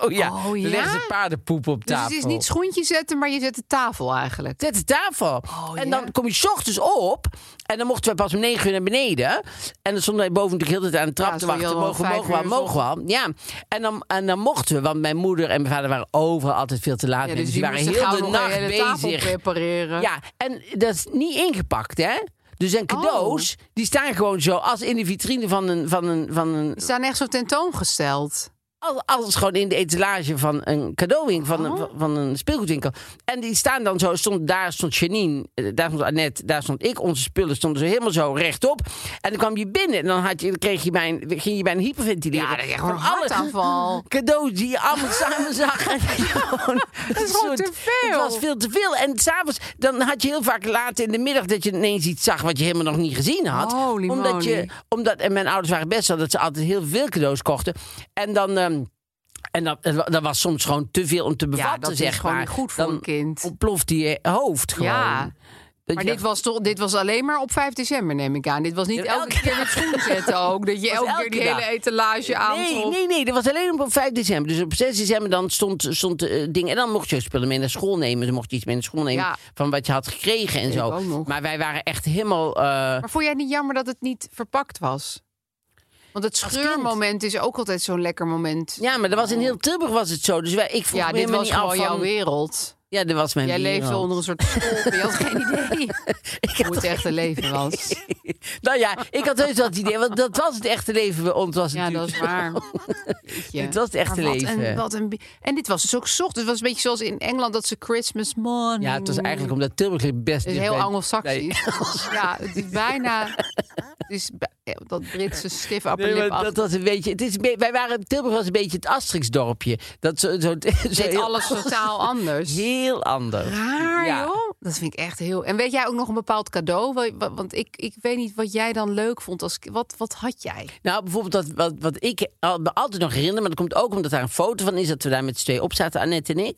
Speaker 2: (laughs) oh ja.
Speaker 6: Oh,
Speaker 2: Dan
Speaker 6: ja?
Speaker 2: leggen ze paardenpoep op
Speaker 6: Dus
Speaker 2: tafel.
Speaker 6: het is niet schoentje zetten, maar je zet de tafel eigenlijk.
Speaker 2: Zet de tafel. en dan
Speaker 6: Oh, ja.
Speaker 2: kom je 's ochtends op. En dan mochten we pas om negen uur naar beneden. En dan stonden wij boven natuurlijk heel de tijd aan de trap
Speaker 6: Ja,
Speaker 2: te
Speaker 6: stond je
Speaker 2: wachten.
Speaker 6: al
Speaker 2: Mogen we,
Speaker 6: vijf
Speaker 2: mogen we,
Speaker 6: uur
Speaker 2: mogen we. al? Ja. En dan, en dan mochten we, want mijn moeder en mijn vader waren overal altijd veel te laat.
Speaker 6: Ja,
Speaker 2: mee. dus
Speaker 6: die
Speaker 2: die waren
Speaker 6: moesten
Speaker 2: heel
Speaker 6: gauw
Speaker 2: de
Speaker 6: nog een
Speaker 2: nacht
Speaker 6: hele tafel
Speaker 2: bezig.
Speaker 6: prepareren.
Speaker 2: Ja, en dat is niet ingepakt, hè? Dus
Speaker 6: Oh.
Speaker 2: zijn cadeaus, die staan gewoon zo als in de vitrine van een... Van een, van een
Speaker 6: Die staan echt zo tentoongesteld.
Speaker 2: al- alles gewoon in de etalage van een cadeauwinkel,
Speaker 6: Oh.
Speaker 2: van, een, van een speelgoedwinkel. En die staan dan zo, stond, daar stond Janine, eh, daar stond Annette, daar stond ik. Onze spullen stonden zo helemaal zo rechtop. En dan kwam je binnen en dan, had je, dan kreeg je bij een, ging je bij een hyperventileren.
Speaker 6: Ja, dat is
Speaker 2: Van
Speaker 6: gewoon een
Speaker 2: alle
Speaker 6: hartaanval.
Speaker 2: Cadeaus die je allemaal samen
Speaker 6: (laughs)
Speaker 2: zag. En dat je gewoon dat
Speaker 6: is gewoon te veel.
Speaker 2: Het was veel te veel. En s'avonds, dan had je heel vaak laat in de middag dat je ineens iets zag wat je helemaal nog niet gezien had.
Speaker 6: Holy
Speaker 2: omdat je,
Speaker 6: moly.
Speaker 2: omdat, en mijn ouders waren best wel dat ze altijd heel veel cadeaus kochten. En dan. ehm, en dat, dat was soms gewoon te veel om te bevatten,
Speaker 6: dat is
Speaker 2: zeg
Speaker 6: gewoon
Speaker 2: maar.
Speaker 6: niet goed voor
Speaker 2: Dan
Speaker 6: een kind.
Speaker 2: ontploft je hoofd gewoon.
Speaker 6: Ja.
Speaker 2: Dat
Speaker 6: Maar
Speaker 2: je
Speaker 6: dit was, toch, dit was alleen maar op 5 december, neem ik aan. Dit was niet
Speaker 2: Ja,
Speaker 6: elke
Speaker 2: elke
Speaker 6: keer met schoen
Speaker 2: (laughs)
Speaker 6: zetten ook. Dat je
Speaker 2: Was
Speaker 6: elke, keer die
Speaker 2: elke
Speaker 6: hele
Speaker 2: dag.
Speaker 6: etalage
Speaker 2: Nee,
Speaker 6: aantrof.
Speaker 2: nee, nee, dat was alleen op 5 december. Dus op 6 december dan stond, stond eh, ding. En dan mocht je spullen mee naar school nemen. Dan mocht je iets mee naar school nemen
Speaker 6: Ja.
Speaker 2: van wat je had gekregen en
Speaker 6: Weet ik
Speaker 2: zo.
Speaker 6: ook nog.
Speaker 2: Maar wij waren echt helemaal. eh,
Speaker 6: Maar vond jij het niet jammer dat het niet verpakt was? Want het scheurmoment is ook altijd zo'n lekker moment.
Speaker 2: ja, maar dat was in heel Tilburg was het zo. Dus wij, ik vroeg
Speaker 6: Ja,
Speaker 2: me
Speaker 6: dit
Speaker 2: helemaal
Speaker 6: was
Speaker 2: niet
Speaker 6: gewoon
Speaker 2: af
Speaker 6: jouw
Speaker 2: van-
Speaker 6: wereld.
Speaker 2: Ja, dat was mijn
Speaker 6: Jij
Speaker 2: wereld.
Speaker 6: leefde onder een soort school. Je had
Speaker 2: (laughs)
Speaker 6: geen idee hoe het echte leven was.
Speaker 2: Nou ja, ik had heus dat idee. Want dat was het echte leven bij ons. Was
Speaker 6: Ja, dat
Speaker 2: natuurlijk
Speaker 6: is
Speaker 2: (laughs)
Speaker 6: waar.
Speaker 2: Dit was het echte
Speaker 6: Maar Ah, wat
Speaker 2: leven.
Speaker 6: Een, wat een, bi- en dit was dus ook 's ochtends. Het was een beetje zoals in Engeland dat ze Christmas morning.
Speaker 2: Ja, het was eigenlijk omdat Tilburg ligt best
Speaker 6: Het is
Speaker 2: dicht
Speaker 6: heel
Speaker 2: bij-
Speaker 6: anglo-saxisch. (laughs) Ja, het is bijna... Het is bij- ja, dat Britse stiff
Speaker 2: Nee,
Speaker 6: appellip
Speaker 2: maar dat was een beetje. Het is, een be- wij waren, Tilburg was een beetje het Asterix-dorpje. Dat zo, (laughs) zo, zo
Speaker 6: Dit
Speaker 2: heel-
Speaker 6: alles
Speaker 2: (laughs)
Speaker 6: totaal anders.
Speaker 2: Heel anders.
Speaker 6: Raar,
Speaker 2: Ja.
Speaker 6: joh. Dat vind ik echt heel... En weet jij ook nog een bepaald cadeau? Wa- wa- Want ik, ik weet niet wat jij dan leuk vond. Als... ki- Wat, wat had jij?
Speaker 2: Nou, bijvoorbeeld dat, wat, wat ik al- me altijd nog herinner, maar dat komt ook omdat daar een foto van is, dat we daar met z'n twee op zaten, Annette en ik,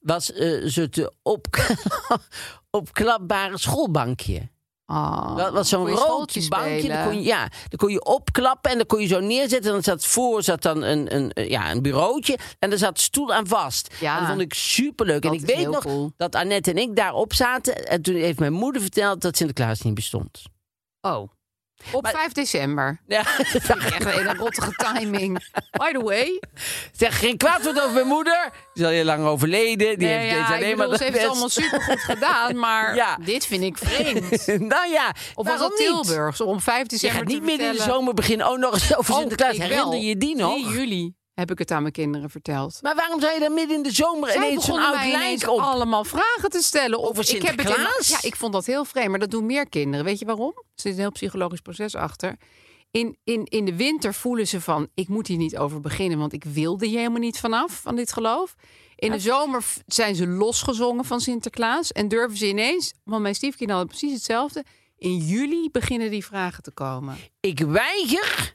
Speaker 2: was eh zo'n te op, (laughs) opklapbare schoolbankje.
Speaker 6: Ah,
Speaker 2: Dat was Oh, zo'n
Speaker 6: kon je
Speaker 2: rood
Speaker 6: schooltje
Speaker 2: bankje.
Speaker 6: spelen?
Speaker 2: Daar kon, je, ja, daar kon je opklappen en dan kon je zo neerzetten. En dan zat voor zat dan een, een, eh, ja, een bureautje. En daar zat stoel aan vast.
Speaker 6: Ja.
Speaker 2: En dat vond ik superleuk. En ik
Speaker 6: Dat is
Speaker 2: weet
Speaker 6: heel
Speaker 2: nog
Speaker 6: cool.
Speaker 2: dat Annette en ik daarop zaten. En toen heeft mijn moeder verteld dat Sinterklaas niet bestond.
Speaker 6: Oh. Op
Speaker 2: (laughs)
Speaker 6: 5 december.
Speaker 2: Ja, dat dacht ik.
Speaker 6: Echt een hele rottige timing. By the way,
Speaker 2: Zeg geen kwaad woord over mijn moeder. Die is al heel lang overleden. Die
Speaker 6: nee,
Speaker 2: heeft,
Speaker 6: ja,
Speaker 2: is
Speaker 6: ik
Speaker 2: alleen
Speaker 6: bedoel,
Speaker 2: maar
Speaker 6: ze
Speaker 2: dat
Speaker 6: heeft het allemaal supergoed gedaan, maar
Speaker 2: Ja.
Speaker 6: dit vind ik
Speaker 2: (laughs)
Speaker 6: vreemd.
Speaker 2: nou ja,
Speaker 6: Of was
Speaker 2: waarom
Speaker 6: dat
Speaker 2: niet?
Speaker 6: Tilburgs? Om 5
Speaker 2: Je
Speaker 6: december
Speaker 2: gaat niet
Speaker 6: te
Speaker 2: midden in de
Speaker 6: vertellen-
Speaker 2: zomer beginnen. Oh, nog eens over
Speaker 6: Oh,
Speaker 2: Sinterklaas.
Speaker 6: ik
Speaker 2: Herinner
Speaker 6: wel.
Speaker 2: je die nog?
Speaker 6: 3 juli heb ik het aan mijn kinderen verteld.
Speaker 2: Maar waarom zou je dan midden in de zomer
Speaker 6: Zij
Speaker 2: ineens zo'n
Speaker 6: begonnen
Speaker 2: oud
Speaker 6: mij ineens
Speaker 2: lijk op?
Speaker 6: allemaal vragen te stellen. Of
Speaker 2: Over
Speaker 6: ik heb het in-
Speaker 2: Sinterklaas?
Speaker 6: ja, ik vond dat heel vreemd, maar dat doen meer kinderen. Weet je waarom? Er zit een heel psychologisch proces achter. In, in, in de winter voelen ze van, ik moet hier niet over beginnen... want ik wilde hier helemaal niet vanaf, van dit geloof. In de zomer f- zijn ze losgezongen van Sinterklaas... en durven ze ineens, want mijn stiefkinderen hadden precies hetzelfde... in juli beginnen die vragen te komen.
Speaker 2: Ik weiger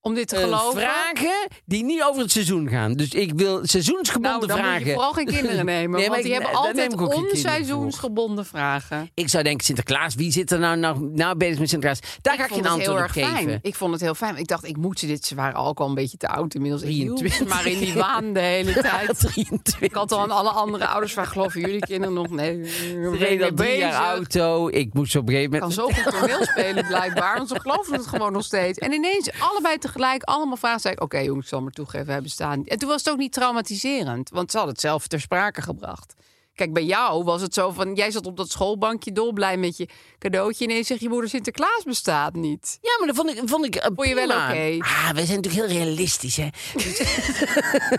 Speaker 6: om dit te
Speaker 2: eh,
Speaker 6: geloven.
Speaker 2: vragen die niet over het seizoen gaan. Dus ik wil
Speaker 6: nou,
Speaker 2: seizoensgebonden
Speaker 6: dan
Speaker 2: vragen.
Speaker 6: moet je vooral geen
Speaker 2: (laughs)
Speaker 6: kinderen nemen.
Speaker 2: Nee, maar
Speaker 6: want die
Speaker 2: ik-
Speaker 6: hebben
Speaker 2: daar neem
Speaker 6: altijd
Speaker 2: ik ook geen kinderen voor.
Speaker 6: onseizoensgebonden vragen.
Speaker 2: Ik zou denken, Sinterklaas, wie zit er nou, nou, nou bezig met Sinterklaas? Daar ga ik je
Speaker 6: vond
Speaker 2: een
Speaker 6: het
Speaker 2: antwoord
Speaker 6: heel
Speaker 2: op
Speaker 6: erg
Speaker 2: geven.
Speaker 6: fijn. Ik vond het heel fijn. Ik dacht, ik moet ze dit. Ze waren ook al een beetje te oud inmiddels. Ik hield ze
Speaker 2: 23.
Speaker 6: maar in die waan de
Speaker 2: (laughs)
Speaker 6: hele tijd.
Speaker 2: 23.
Speaker 6: Ik had al aan alle andere ouders waar geloven jullie kinderen nog? Nee, we
Speaker 2: Ik reed al drie
Speaker 6: bezig.
Speaker 2: jaar auto. Ik moest op een gegeven
Speaker 6: Ik kan
Speaker 2: moment...
Speaker 6: zo goed toneel spelen blijkbaar, want ze geloven het gewoon nog steeds. En ineens allebei tegelijk, allemaal vragen. Zei ik, oké jongens, ik zal maar toegeven, wij bestaan niet. En toen was het ook niet traumatiserend, want ze hadden het zelf ter sprake gebracht. Kijk, bij jou was het zo van, jij zat op dat schoolbankje dolblij met je cadeautje. Ineens zeg je moeder Sinterklaas bestaat niet.
Speaker 2: Ja, maar dat vond ik, vond ik eh,
Speaker 6: Vond je wel
Speaker 2: prima.
Speaker 6: oké?
Speaker 2: Ah, we zijn natuurlijk heel realistisch, hè?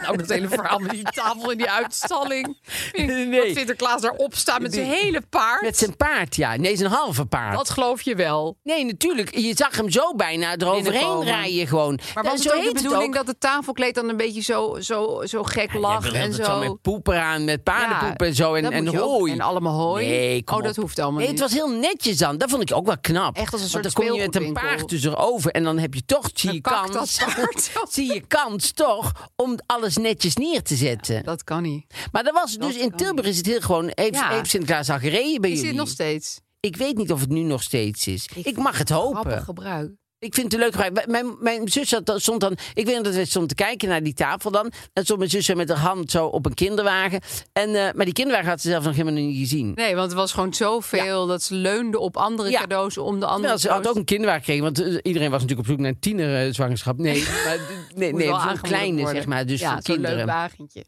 Speaker 6: Nou, dat hele verhaal met die tafel in die uitstalling. Vind ik
Speaker 2: Nee.
Speaker 6: Dat Sinterklaas daarop staat met zijn hele paard.
Speaker 2: Met zijn paard, ja. Nee, zijn halve paard.
Speaker 6: Dat geloof je wel.
Speaker 2: Nee, natuurlijk. Je zag hem zo bijna eroverheen
Speaker 6: Binnenkomen.
Speaker 2: rijden gewoon.
Speaker 6: Maar
Speaker 2: Ja,
Speaker 6: was
Speaker 2: zo
Speaker 6: het ook de
Speaker 2: heet
Speaker 6: bedoeling
Speaker 2: ook.
Speaker 6: dat het tafelkleed dan een beetje zo, zo, zo gek
Speaker 2: Ja,
Speaker 6: lag
Speaker 2: jij
Speaker 6: en
Speaker 2: beeldt het
Speaker 6: zo?
Speaker 2: met poeper aan, met paardenpoep
Speaker 6: Ja,
Speaker 2: en zo. En,
Speaker 6: dat
Speaker 2: en
Speaker 6: moet je ook.
Speaker 2: hooi.
Speaker 6: En allemaal hooi.
Speaker 2: Nee, kom
Speaker 6: Oh, dat
Speaker 2: op.
Speaker 6: hoeft allemaal
Speaker 2: nee,
Speaker 6: niet.
Speaker 2: Het was heel netjes dan. Dat vond ik ook wel knap.
Speaker 6: Echt als een
Speaker 2: Want
Speaker 6: soort
Speaker 2: dan kom je met een
Speaker 6: speelgoedwinkel.
Speaker 2: paard tussenover. En dan heb je toch, zie
Speaker 6: Een
Speaker 2: je
Speaker 6: cactus
Speaker 2: kans. (laughs)
Speaker 6: paard.
Speaker 2: zie je kans toch om alles netjes neer te zetten.
Speaker 6: Dat kan niet.
Speaker 2: maar dat was dus in Tilburg is het heel gewoon. Heeft,
Speaker 6: Ja.
Speaker 2: heeft Sinterklaas al gereden bij
Speaker 6: Is
Speaker 2: jullie?
Speaker 6: dit nog steeds?
Speaker 2: Ik weet niet of het nu nog steeds is. Ik, mag het hopen.
Speaker 6: Grappig gebruik.
Speaker 2: Ik vind het een leuk gebruik. Wij- Mijn, mijn zus zat, dan- stond dan... Ik weet nog dat wij stonden te kijken naar die tafel dan. En stond mijn zus zo met haar hand zo op een kinderwagen. En, eh, maar die kinderwagen had ze zelf nog helemaal niet gezien.
Speaker 6: Nee, want het was gewoon zoveel dat ze leunde op andere
Speaker 2: Ja.
Speaker 6: cadeaus om de andere
Speaker 2: Terwijl ze had
Speaker 6: cadeaus.
Speaker 2: ook een kinderwagen gekregen. Want eh, iedereen was natuurlijk op zoek naar een tienerzwangerschap.
Speaker 6: (laughs)
Speaker 2: Nee, maar, nee,
Speaker 6: Moet
Speaker 2: nee
Speaker 6: wel
Speaker 2: zo'n
Speaker 6: aangemoedigd
Speaker 2: kleine
Speaker 6: worden.
Speaker 2: zeg maar. Dus
Speaker 6: ja,
Speaker 2: voor
Speaker 6: zo'n
Speaker 2: kinderen.
Speaker 6: leuk wagentje.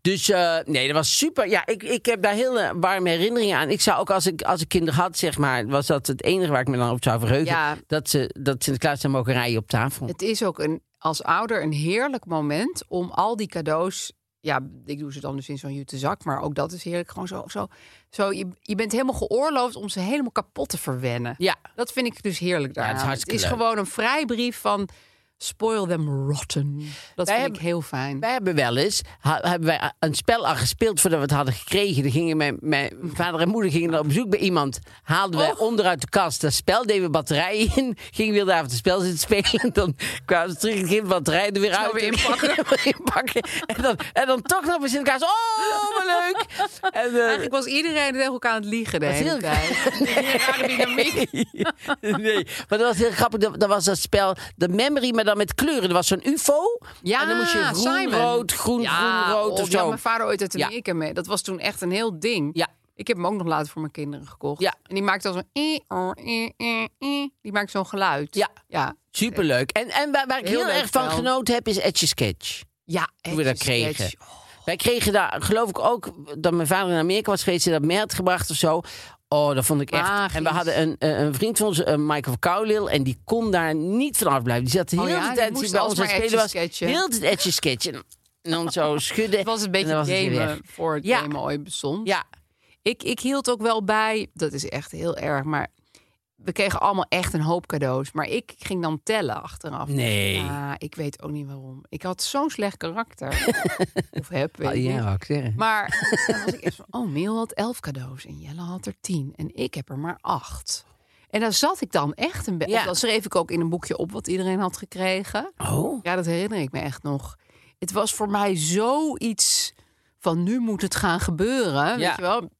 Speaker 2: Dus eh, nee, dat was super. Ja, ik, ik heb daar heel eh, warme herinneringen aan. Ik zou ook als ik, als ik kinderen had, zeg maar, was dat het enige waar ik me dan op zou verheugen.
Speaker 6: Ja.
Speaker 2: Dat, ze, dat Sinterklaas zou mogen rijden op tafel.
Speaker 6: Het is ook een, als ouder een heerlijk moment om al die cadeaus. Ja, ik doe ze dan dus in zo'n jute zak, maar ook dat is heerlijk. Gewoon zo. zo, zo je, je bent helemaal geoorloofd om ze helemaal kapot te verwennen.
Speaker 2: Ja.
Speaker 6: Dat vind ik dus heerlijk daar.
Speaker 2: het is hartstikke leuk.
Speaker 6: gewoon een vrijbrief van spoil them rotten. Dat vind
Speaker 2: hebben-
Speaker 6: ik heel fijn.
Speaker 2: Wij hebben wel eens ha- hebben wij een spel al gespeeld voordat we het hadden gekregen. Dan gingen mijn, mijn vader en moeder gingen dan op bezoek bij iemand. Haalden wij onderuit de kast dat spel, deden we batterijen in. Gingen we heel de avond het spel zitten spelen. En dan kwamen ze terug en gingen de batterijen er weer uit.
Speaker 6: weer
Speaker 2: En (laughs) gingen we inpakken. En dan, en dan toch nog eens in elkaar. Oh, wat leuk! En, eh,
Speaker 6: Eigenlijk was iedereen tegen elkaar aan het liegen de
Speaker 2: Dat is
Speaker 6: hele
Speaker 2: heel-
Speaker 6: tijd. Die rare dynamiek.
Speaker 2: (laughs) nee, maar dat was heel grappig. Dat, dat was dat spel, de memory, maar dan met kleuren. Er was zo'n UFO.
Speaker 6: Ja,
Speaker 2: en dan moest je groen,
Speaker 6: Simon.
Speaker 2: rood, groen,
Speaker 6: Ja,
Speaker 2: groen, rood
Speaker 6: oh,
Speaker 2: of
Speaker 6: die had
Speaker 2: zo.
Speaker 6: mijn vader ooit uit
Speaker 2: Ja.
Speaker 6: Amerika mee. Dat was toen echt een heel ding.
Speaker 2: Ja.
Speaker 6: Ik heb hem ook nog later voor mijn kinderen gekocht.
Speaker 2: Ja.
Speaker 6: En die maakte al zo'n... eh, oh, eh, eh, eh. Die maakt zo'n geluid.
Speaker 2: Ja.
Speaker 6: Ja.
Speaker 2: Superleuk. En, en waar, waar ik heel,
Speaker 6: Heel leuk
Speaker 2: erg van
Speaker 6: spel.
Speaker 2: genoten heb, is Etch a Sketch.
Speaker 6: Ja.
Speaker 2: Toen we dat
Speaker 6: etch a sketch. Oh.
Speaker 2: kregen. Wij kregen daar, geloof ik ook, dat mijn vader in Amerika was geweest en dat mee had gebracht of zo. Oh, dat vond ik echt.
Speaker 6: Magisch.
Speaker 2: En we hadden een, eh, een vriend van ons, eh, Michael Cowlil, en die kon daar niet vanaf blijven. Die zat de
Speaker 6: Oh
Speaker 2: hele
Speaker 6: ja, die
Speaker 2: tijd die
Speaker 6: moest
Speaker 2: bij ons aan
Speaker 6: alsmaar
Speaker 2: het spelen
Speaker 6: etch a
Speaker 2: was.
Speaker 6: sketchen.
Speaker 2: Heel het etch a sketch. En en dan
Speaker 6: (laughs)
Speaker 2: zo schudden.
Speaker 6: Het was een
Speaker 2: en
Speaker 6: beetje
Speaker 2: dan was het weer weg.
Speaker 6: gamen voor het
Speaker 2: Ja.
Speaker 6: gamen ooit bestond.
Speaker 2: Ja,
Speaker 6: Ik, ik hield ook wel bij, dat is echt heel erg, maar we kregen allemaal echt een hoop cadeaus. Maar ik ging dan tellen achteraf.
Speaker 2: Nee. Ah,
Speaker 6: Ja, ik weet ook niet waarom. Ik had zo'n slecht (laughs) karakter. of heb, weet
Speaker 2: Ah,
Speaker 6: ik
Speaker 2: ja,
Speaker 6: niet.
Speaker 2: wou ik zeggen.
Speaker 6: Maar (laughs) dan was ik echt van, oh, Miel had elf cadeaus en Jelle had er tien. En ik heb er maar acht. En daar zat ik dan echt een beetje...
Speaker 2: Ja.
Speaker 6: of Dan schreef ik ook in een boekje op wat iedereen had gekregen.
Speaker 2: Oh,
Speaker 6: Ja, dat herinner ik me echt nog. Het was voor mij zoiets van nu moet het gaan gebeuren.
Speaker 2: Ja.
Speaker 6: Weet je wel?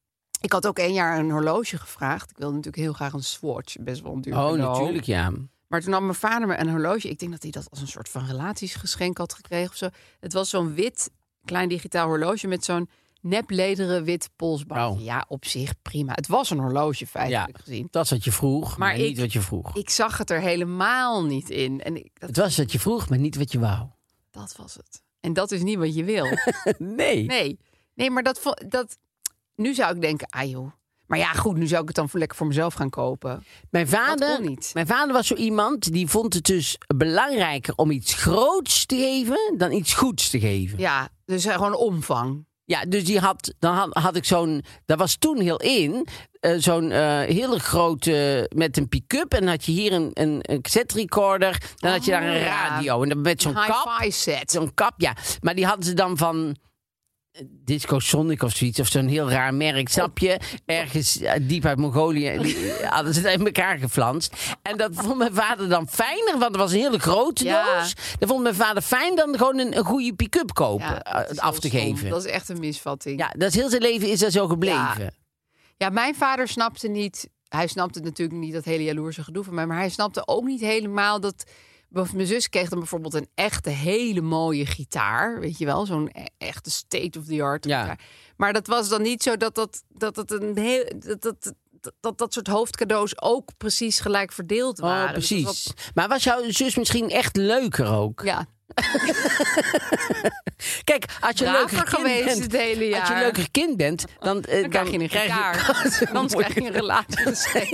Speaker 6: Ik had ook één jaar een horloge gevraagd. Ik wilde natuurlijk heel graag een Swatch, best wel een duur
Speaker 2: oh
Speaker 6: cadeau.
Speaker 2: natuurlijk, ja.
Speaker 6: Maar toen nam mijn vader me een horloge. Ik denk dat hij dat als een soort van relatiesgeschenk had gekregen of zo. Het was zo'n wit, klein digitaal horloge met zo'n neplederen wit polsbandje.
Speaker 2: Oh.
Speaker 6: Ja, op zich prima. Het was een horloge feitelijk
Speaker 2: Ja.
Speaker 6: gezien.
Speaker 2: Dat is wat je vroeg, maar,
Speaker 6: Maar ik-
Speaker 2: niet wat je vroeg.
Speaker 6: Ik zag het er helemaal niet in. En ik, dat,
Speaker 2: Het was wat je vroeg, maar niet wat je wou. (laughs)
Speaker 6: dat was het. En dat is niet wat je wil.
Speaker 2: Nee.
Speaker 6: Nee, nee maar dat, vo- dat. Nu zou ik denken, ah joh. Maar ja, goed, nu zou ik het dan voor lekker voor mezelf gaan kopen.
Speaker 2: Mijn vader,
Speaker 6: kon niet.
Speaker 2: mijn vader was zo iemand die vond het dus belangrijker om iets groots te geven dan iets goeds te geven.
Speaker 6: Ja, dus eh, gewoon omvang.
Speaker 2: Ja, dus die had, dan had, had ik zo'n, dat was toen heel in, eh, zo'n eh, hele grote met een pick-up en dan had je hier een, een, een cassette recorder, dan had je daar
Speaker 6: Oh,
Speaker 2: een
Speaker 6: ja.
Speaker 2: radio en dan met zo'n kap.
Speaker 6: Hi-fi set.
Speaker 2: Zo'n kap, ja. Maar die hadden ze dan van eh, Disco Sonic of zoiets, of zo'n heel raar merk, snap je? Ergens eh, diep uit Mongolië
Speaker 6: (laughs)
Speaker 2: die- hadden ze het in elkaar geflanst. En dat vond mijn vader dan fijner, want het was een hele grote
Speaker 6: Ja.
Speaker 2: doos. Dat vond mijn vader fijn dan gewoon een, een goede pick-up kopen,
Speaker 6: Ja, dat
Speaker 2: eh,
Speaker 6: is
Speaker 2: af
Speaker 6: heel
Speaker 2: te
Speaker 6: stom.
Speaker 2: geven.
Speaker 6: Dat is echt een misvatting.
Speaker 2: Ja, dat is heel zijn leven is dat zo gebleven.
Speaker 6: Ja. Ja, mijn vader snapte niet. Hij snapte natuurlijk niet dat hele jaloerse gedoe van mij. Maar hij snapte ook niet helemaal dat. want Mijn zus kreeg dan bijvoorbeeld een echte hele mooie gitaar. Weet je wel, zo'n e- echte state of the art.
Speaker 2: Ja.
Speaker 6: gitaar. Maar dat was dan niet zo dat dat, dat, dat, een heel, dat, dat, dat, dat dat soort hoofdcadeaus ook precies gelijk verdeeld
Speaker 2: Oh,
Speaker 6: waren. Dus dat
Speaker 2: precies. Maar was jouw zus misschien echt leuker ook?
Speaker 6: was- ja,
Speaker 2: Kijk, als je
Speaker 6: Braver
Speaker 2: leuker kind
Speaker 6: geweest
Speaker 2: bent,
Speaker 6: het hele
Speaker 2: als je
Speaker 6: jaar.
Speaker 2: leuker kind bent, dan, eh,
Speaker 6: dan krijg je een gitaar. (laughs)
Speaker 2: (laughs)
Speaker 6: Anders krijg je een relatie.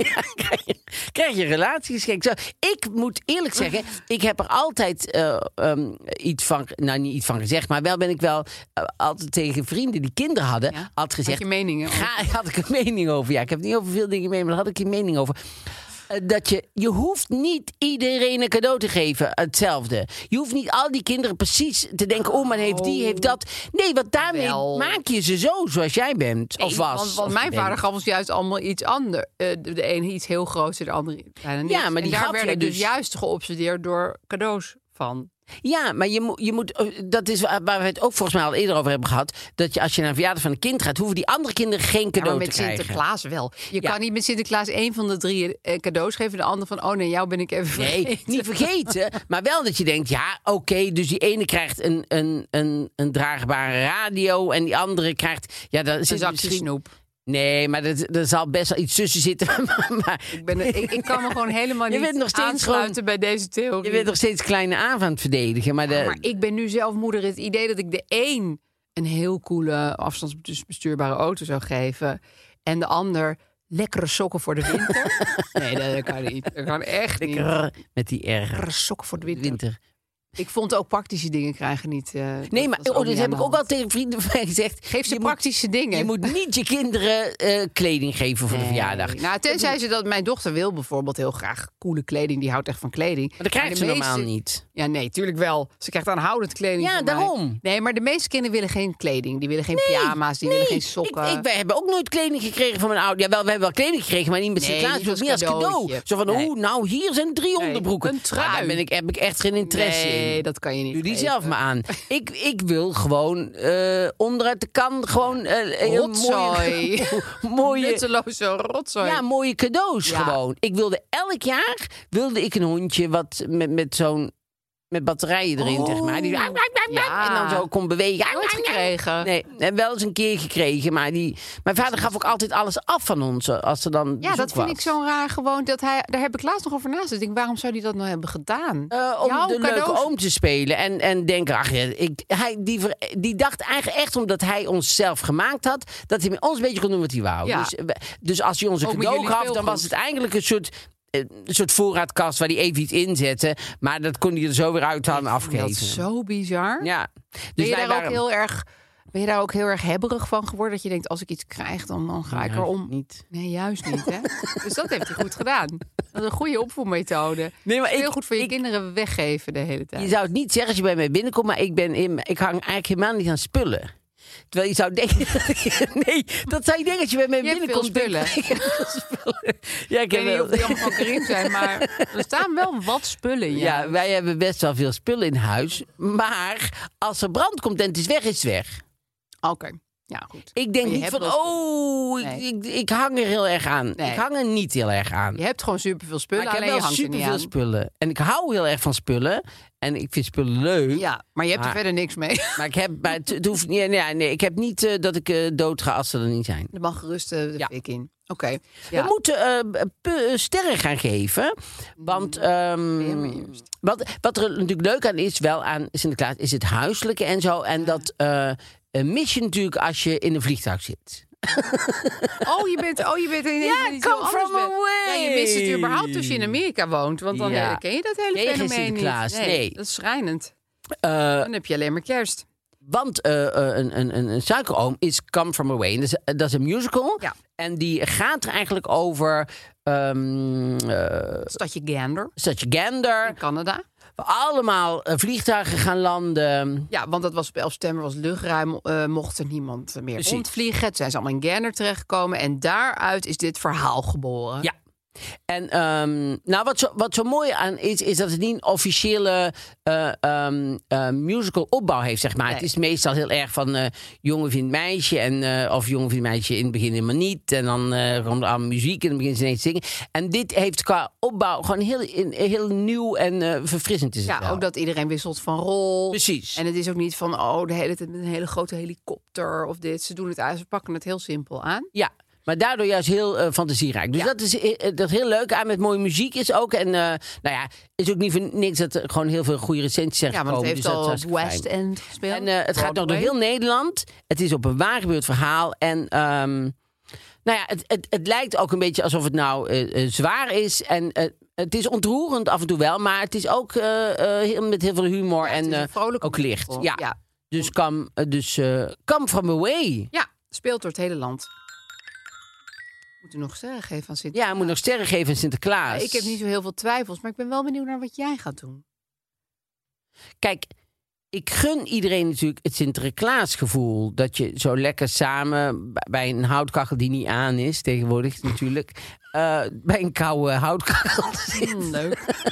Speaker 2: Ja, krijg je, krijg je relatiegeschenk. Zo, Ik moet eerlijk zeggen, ik heb er altijd eh, ehm, iets van, nou niet iets van gezegd, maar wel ben ik wel eh, altijd tegen vrienden die kinderen hadden,
Speaker 6: Ja,
Speaker 2: altijd
Speaker 6: Had
Speaker 2: gezegd,
Speaker 6: je meningen? over?
Speaker 2: Ga, had ik een mening over. Ja, ik heb niet over veel dingen mee, maar daar had ik een mening over. Eh, Dat je, je hoeft niet iedereen een cadeau te geven, hetzelfde. Je hoeft niet al die kinderen precies te denken: oh, maar heeft die, heeft dat. Nee, want daarmee
Speaker 6: Wel.
Speaker 2: maak je ze zo zoals jij bent. of
Speaker 6: Nee,
Speaker 2: was.
Speaker 6: Want, want
Speaker 2: of
Speaker 6: mijn
Speaker 2: bent.
Speaker 6: vader gaf ons juist allemaal iets anders. Eh, de, de ene iets heel groots en de andere bijna niks.
Speaker 2: Ja, maar
Speaker 6: en
Speaker 2: die
Speaker 6: daar
Speaker 2: gaf
Speaker 6: werd
Speaker 2: jij
Speaker 6: ik dus...
Speaker 2: dus.
Speaker 6: juist geobsedeerd door cadeaus van.
Speaker 2: Ja, maar je, moet- je moet. eh, Dat is waar waar we het ook volgens mij al eerder over hebben gehad. Dat je als je naar een verjaardag van een kind gaat, hoeven die andere kinderen geen
Speaker 6: Ja, maar
Speaker 2: cadeau
Speaker 6: met
Speaker 2: te krijgen.
Speaker 6: Sinterklaas wel. Je
Speaker 2: Ja.
Speaker 6: kan niet met Sinterklaas één van de drie eh, cadeaus geven. De ander van, oh nee, jou ben ik even
Speaker 2: Nee,
Speaker 6: (laughs) vergeten.
Speaker 2: niet vergeten. Maar wel dat je denkt, ja, oké, dus die ene krijgt een, een, een, een draagbare radio en die andere krijgt... Ja, daar
Speaker 6: Een
Speaker 2: zit
Speaker 6: zakje
Speaker 2: misschien-
Speaker 6: snoep.
Speaker 2: Nee, maar er, er zal best wel iets tussen zitten. (laughs) Maar, maar
Speaker 6: Ik, ben, ik, ik kan me gewoon helemaal
Speaker 2: (laughs) Je
Speaker 6: niet
Speaker 2: bent nog steeds
Speaker 6: aansluiten bij deze theorie.
Speaker 2: je bent nog steeds kleine A aan het verdedigen. Maar, de,
Speaker 6: Maar ik ben nu zelf moeder. Het idee dat ik de een een heel coole afstandsbestuurbare auto zou geven. En de ander lekkere sokken voor de
Speaker 2: (laughs)
Speaker 6: winter. nee, dat dat kan niet. Dat kan echt niet.
Speaker 2: Krrr, met die R.
Speaker 6: Lekkere sokken voor de winter.
Speaker 2: Winter.
Speaker 6: Ik vond ook praktische dingen krijgen niet. eh,
Speaker 2: Nee, maar
Speaker 6: was
Speaker 2: oh, dat
Speaker 6: niet
Speaker 2: heb
Speaker 6: aan
Speaker 2: ik
Speaker 6: de
Speaker 2: ook
Speaker 6: hand.
Speaker 2: al tegen vrienden van mij gezegd.
Speaker 6: Geef ze
Speaker 2: je moet-
Speaker 6: praktische dingen.
Speaker 2: Je moet niet je kinderen eh, kleding geven voor de
Speaker 6: Nee.
Speaker 2: verjaardag.
Speaker 6: Nou, tenzij ze dat mijn dochter wil bijvoorbeeld heel graag coole kleding. Die houdt echt van kleding.
Speaker 2: Maar dat krijgt
Speaker 6: de
Speaker 2: ze normaal
Speaker 6: meeste-
Speaker 2: niet.
Speaker 6: Ja, nee, tuurlijk wel. Ze krijgt aanhoudend kleding.
Speaker 2: Ja,
Speaker 6: van mij.
Speaker 2: daarom.
Speaker 6: Nee, maar de meeste kinderen willen geen kleding. Die willen geen pyjama's, die willen
Speaker 2: Nee,
Speaker 6: geen sokken.
Speaker 2: Ik, ik, wij hebben ook nooit kleding gekregen van mijn ouders. Ja, wel, we hebben wel kleding gekregen, maar niet met
Speaker 6: Nee,
Speaker 2: Sinterklaas.
Speaker 6: niet
Speaker 2: Dus
Speaker 6: als
Speaker 2: niet als cadeau.
Speaker 6: cadeautje.
Speaker 2: Zo van,
Speaker 6: Nee.
Speaker 2: oeh, nou, hier zijn drie onderbroeken.
Speaker 6: een trui.
Speaker 2: Ah, daar ben ik, heb ik echt geen interesse
Speaker 6: nee,
Speaker 2: in.
Speaker 6: dat kan je niet.
Speaker 2: Doe die
Speaker 6: geven.
Speaker 2: zelf maar aan. Ik, ik wil gewoon eh, onderuit de kan gewoon eh, heel (laughs)
Speaker 6: Rotzooi.
Speaker 2: mooie, mooie,
Speaker 6: Nutteloze rotzooi.
Speaker 2: ja, mooie cadeaus
Speaker 6: Ja.
Speaker 2: gewoon. Ik wilde elk jaar wilde ik een hondje wat met, met zo'n met batterijen erin zeg maar. Die,
Speaker 6: Ja.
Speaker 2: En dan zo kon bewegen.
Speaker 6: Oh. Ah.
Speaker 2: Ah,
Speaker 6: Nooit gekregen.
Speaker 2: Nee, en wel eens een keer gekregen, maar die... Mijn vader gaf ook altijd alles af van ons, eh, als er dan
Speaker 6: Ja,
Speaker 2: bezoek
Speaker 6: dat vind
Speaker 2: was.
Speaker 6: ik zo'n raar gewoon. Dat hij, daar heb ik laatst nog over naast. Ik denk, waarom zou hij dat nou hebben gedaan?
Speaker 2: Eh, om
Speaker 6: Jouw
Speaker 2: de leuke
Speaker 6: cadeaus-
Speaker 2: oom te spelen en, en denken, ach, ja, ik, hij, die, ver- die dacht eigenlijk echt omdat hij ons zelf gemaakt had, dat hij met ons een beetje kon doen wat hij wou.
Speaker 6: Ja.
Speaker 2: Dus, eh, we- dus als hij ons een
Speaker 6: Ook met
Speaker 2: cadeau
Speaker 6: jullie
Speaker 2: gaf, dan was
Speaker 6: speelgoed.
Speaker 2: het eigenlijk een soort, eh, een soort voorraadkast waar hij even iets in zette, maar dat kon hij er zo weer uit aan afgeven.
Speaker 6: Dat is zo bizar.
Speaker 2: Ja.
Speaker 6: ben,
Speaker 2: Dus
Speaker 6: je
Speaker 2: wij
Speaker 6: daar
Speaker 2: waren...
Speaker 6: ook heel erg, ben je daar ook heel erg hebberig van geworden? Dat je denkt, als ik iets krijg, dan, dan ga ik
Speaker 2: Ja,
Speaker 6: erom.
Speaker 2: Niet.
Speaker 6: Nee, juist niet.
Speaker 2: (laughs)
Speaker 6: Hè? dus dat heeft hij goed gedaan. Dat is een goede opvoedmethode.
Speaker 2: Nee, maar
Speaker 6: Heel
Speaker 2: ik-
Speaker 6: goed voor je
Speaker 2: ik-
Speaker 6: kinderen weggeven de hele tijd.
Speaker 2: Je zou het niet zeggen als je bij mij binnenkomt, maar ik, ben in, ik hang eigenlijk helemaal niet aan spullen. Terwijl je zou denken. (laughs) nee, dat zou je denken als je bij mij
Speaker 6: Je hebt
Speaker 2: binnenkomt.
Speaker 6: veel spullen.
Speaker 2: denk ik, ik (laughs) heb veel spullen. Ja, ik
Speaker 6: Ik
Speaker 2: heb
Speaker 6: weet niet
Speaker 2: wel.
Speaker 6: of die allemaal van Karim zijn,
Speaker 2: (laughs)
Speaker 6: maar er staan wel wat spullen. Ja.
Speaker 2: Ja, wij hebben best wel veel spullen in huis. Maar als er brand komt en het is weg, is het weg.
Speaker 6: Oké. Ja, goed.
Speaker 2: Ik denk
Speaker 6: Maar je
Speaker 2: niet
Speaker 6: hebt
Speaker 2: van,
Speaker 6: wel spullen.
Speaker 2: oh, ik-
Speaker 6: Nee.
Speaker 2: ik, ik hang er heel erg aan.
Speaker 6: Nee.
Speaker 2: Ik hang er niet heel erg aan.
Speaker 6: Je hebt gewoon superveel spullen,
Speaker 2: Maar ik heb
Speaker 6: alleen
Speaker 2: wel
Speaker 6: je hangt er niet
Speaker 2: superveel
Speaker 6: aan.
Speaker 2: spullen. En ik hou heel erg van spullen. En ik vind spullen leuk.
Speaker 6: Ja, maar je hebt
Speaker 2: Maar-
Speaker 6: er verder niks
Speaker 2: (laughs)
Speaker 6: mee.
Speaker 2: Maar ik heb, bij, het, het hoeft, nee, nee, nee, ik heb niet eh, dat ik eh, dood ga als ze er niet zijn.
Speaker 6: Er mag gerust eh, de
Speaker 2: Ja.
Speaker 6: fik in. Oké.
Speaker 2: We
Speaker 6: Ja.
Speaker 2: moeten eh, pu- eh, sterren gaan geven. Want,
Speaker 6: Mm.
Speaker 2: ehm, wat, wat er natuurlijk leuk aan is, wel aan Sinterklaas, is het huiselijke en zo. En dat eh, eh, mis je natuurlijk als je in een vliegtuig zit.
Speaker 6: Oh, je bent, oh, je bent in
Speaker 2: Ja,
Speaker 6: in iets heel
Speaker 2: come
Speaker 6: anders
Speaker 2: from
Speaker 6: bent. Ja, je mist het
Speaker 2: away.
Speaker 6: überhaupt als je in Amerika woont. Want dan
Speaker 2: Ja.
Speaker 6: eh, ken je dat hele
Speaker 2: Ken je geen
Speaker 6: fenomeen
Speaker 2: Sinterklaas,
Speaker 6: niet.
Speaker 2: nee.
Speaker 6: Dat is schrijnend.
Speaker 2: Eh,
Speaker 6: Dan heb je alleen maar kerst.
Speaker 2: want eh, eh, een, een, een, een suikeroom is Come From Away. En dat, is, eh, dat is een musical.
Speaker 6: Ja.
Speaker 2: En die gaat er eigenlijk over ehm eh,
Speaker 6: Stadje Gander
Speaker 2: such gander.
Speaker 6: in Canada.
Speaker 2: we allemaal eh, vliegtuigen gaan landen.
Speaker 6: Ja, want dat was op 11 september, was luchtruim, eh, mocht er niemand meer
Speaker 2: Precies.
Speaker 6: ontvliegen. Toen zijn ze allemaal in Gerner terechtgekomen en daaruit is dit verhaal geboren.
Speaker 2: Ja. En ehm, nou, wat zo, wat zo mooi aan is, is dat het niet een officiële eh, ehm, eh, musical opbouw heeft, zeg maar. Het is meestal heel erg van eh, jongen vindt meisje, en, eh, of jongen vindt meisje in het begin helemaal niet. En dan eh komt er aan muziek en dan beginnen ze ineens te zingen. En dit heeft qua opbouw gewoon heel, in- heel nieuw en eh, verfrissend is het
Speaker 6: Ja,
Speaker 2: wel.
Speaker 6: ook dat iedereen wisselt van rol.
Speaker 2: Precies.
Speaker 6: En het is ook niet van, oh, de hele tijd met een hele grote helikopter of dit. Ze doen het uit, ze pakken het heel simpel aan.
Speaker 2: Ja, maar daardoor juist heel eh, fantasierijk. Dus dat is eh, dat heel leuk aan met mooie muziek is ook. En eh, nou ja, is ook niet voor niks dat er gewoon heel veel goede recensies zijn
Speaker 6: Ja, want het
Speaker 2: gekomen.
Speaker 6: heeft
Speaker 2: dus dat is
Speaker 6: al op
Speaker 2: hartstikke fijn.
Speaker 6: West End gespeeld.
Speaker 2: En eh, het gaat nog door
Speaker 6: Broadway.
Speaker 2: heel Nederland. Het is op een waar gebeurd verhaal. En ehm, nou ja, het, het, het lijkt ook een beetje alsof het nou eh, eh, zwaar is. En eh, het is ontroerend af en toe wel. Maar het is ook eh, eh, heel, met heel veel humor
Speaker 6: Het
Speaker 2: en
Speaker 6: is een
Speaker 2: eh,
Speaker 6: vrolijke
Speaker 2: ook licht.
Speaker 6: musical.
Speaker 2: Ja.
Speaker 6: ja.
Speaker 2: Dus, come, eh, dus eh, come from away.
Speaker 6: Ja, speelt door het hele land. Moet u nog sterren geven aan Sint
Speaker 2: Ja, hij moet nog sterren geven aan Sinterklaas.
Speaker 6: Ik heb niet zo heel veel twijfels, maar ik ben wel benieuwd naar wat jij
Speaker 2: (laughs)
Speaker 6: gaat doen.
Speaker 2: Kijk, ik gun iedereen natuurlijk het Sinterklaasgevoel. Dat je zo lekker samen b- bij een houtkachel die niet aan is, tegenwoordig natuurlijk. eh, bij een koude houtkachel (laughs) zit.
Speaker 6: leuk.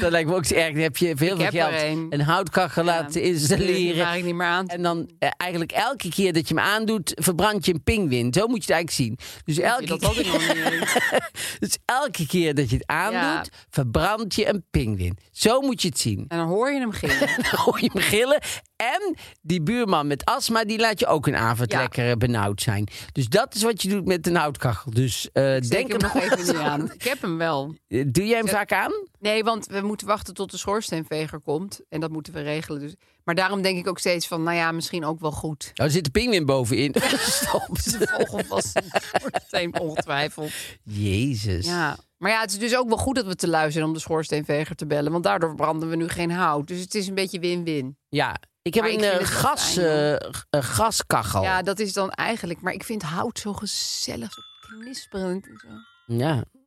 Speaker 2: Dat lijkt me ook zo erg. Dan heb je veel
Speaker 6: heb
Speaker 2: geld
Speaker 6: er een.
Speaker 2: houtkachel laten installeren.
Speaker 6: Waar ik Ehm, niet meer aan.
Speaker 2: En dan eh, eigenlijk elke keer dat je hem aandoet, verbrand je een pingwin. Zo moet je het eigenlijk zien. Dus elke,
Speaker 6: dat
Speaker 2: keer,
Speaker 6: altijd nog niet.
Speaker 2: (laughs) dus elke keer dat je het aandoet, verbrand je een pingwin. Zo moet je het zien.
Speaker 6: En dan hoor je hem (laughs)
Speaker 2: (laughs)
Speaker 6: gillen.
Speaker 2: Dan hoor je hem gillen. En die buurman met astma, die laat je ook een avond
Speaker 6: Ja.
Speaker 2: lekker eh, benauwd zijn. Dus dat is wat je doet met een houtkachel. Dus eh, denk
Speaker 6: Denk
Speaker 2: er
Speaker 6: hem nog
Speaker 2: nog
Speaker 6: even
Speaker 2: eens
Speaker 6: niet aan. Ik heb hem wel.
Speaker 2: Eh, Doe jij hem vaak aan? Oh,
Speaker 6: Nee, want we moeten wachten tot de schoorsteenveger komt. En dat moeten we regelen. Dus. Maar daarom denk ik ook steeds van, nou ja, misschien ook wel (laughs) goed.
Speaker 2: Nou, er zit de pingwin
Speaker 6: (laughs)
Speaker 2: bovenin. Gestopt.
Speaker 6: De vogel was een schoorsteen, (laughs) ongetwijfeld.
Speaker 2: Jezus.
Speaker 6: Ja. Maar ja, het is dus ook wel goed dat we te luisteren om de schoorsteenveger te bellen. Want daardoor branden we nu geen hout. Dus het is een beetje win-win.
Speaker 2: Ja. Ik heb
Speaker 6: Maar
Speaker 2: een
Speaker 6: ik vind
Speaker 2: eh,
Speaker 6: het wel
Speaker 2: gas,
Speaker 6: fijn, hoor.
Speaker 2: eh, g- eh, gaskachel.
Speaker 6: Ja,
Speaker 2: Ja.
Speaker 6: dat is dan eigenlijk. Maar ik vind hout zo gezellig, zo knisperend. en zo.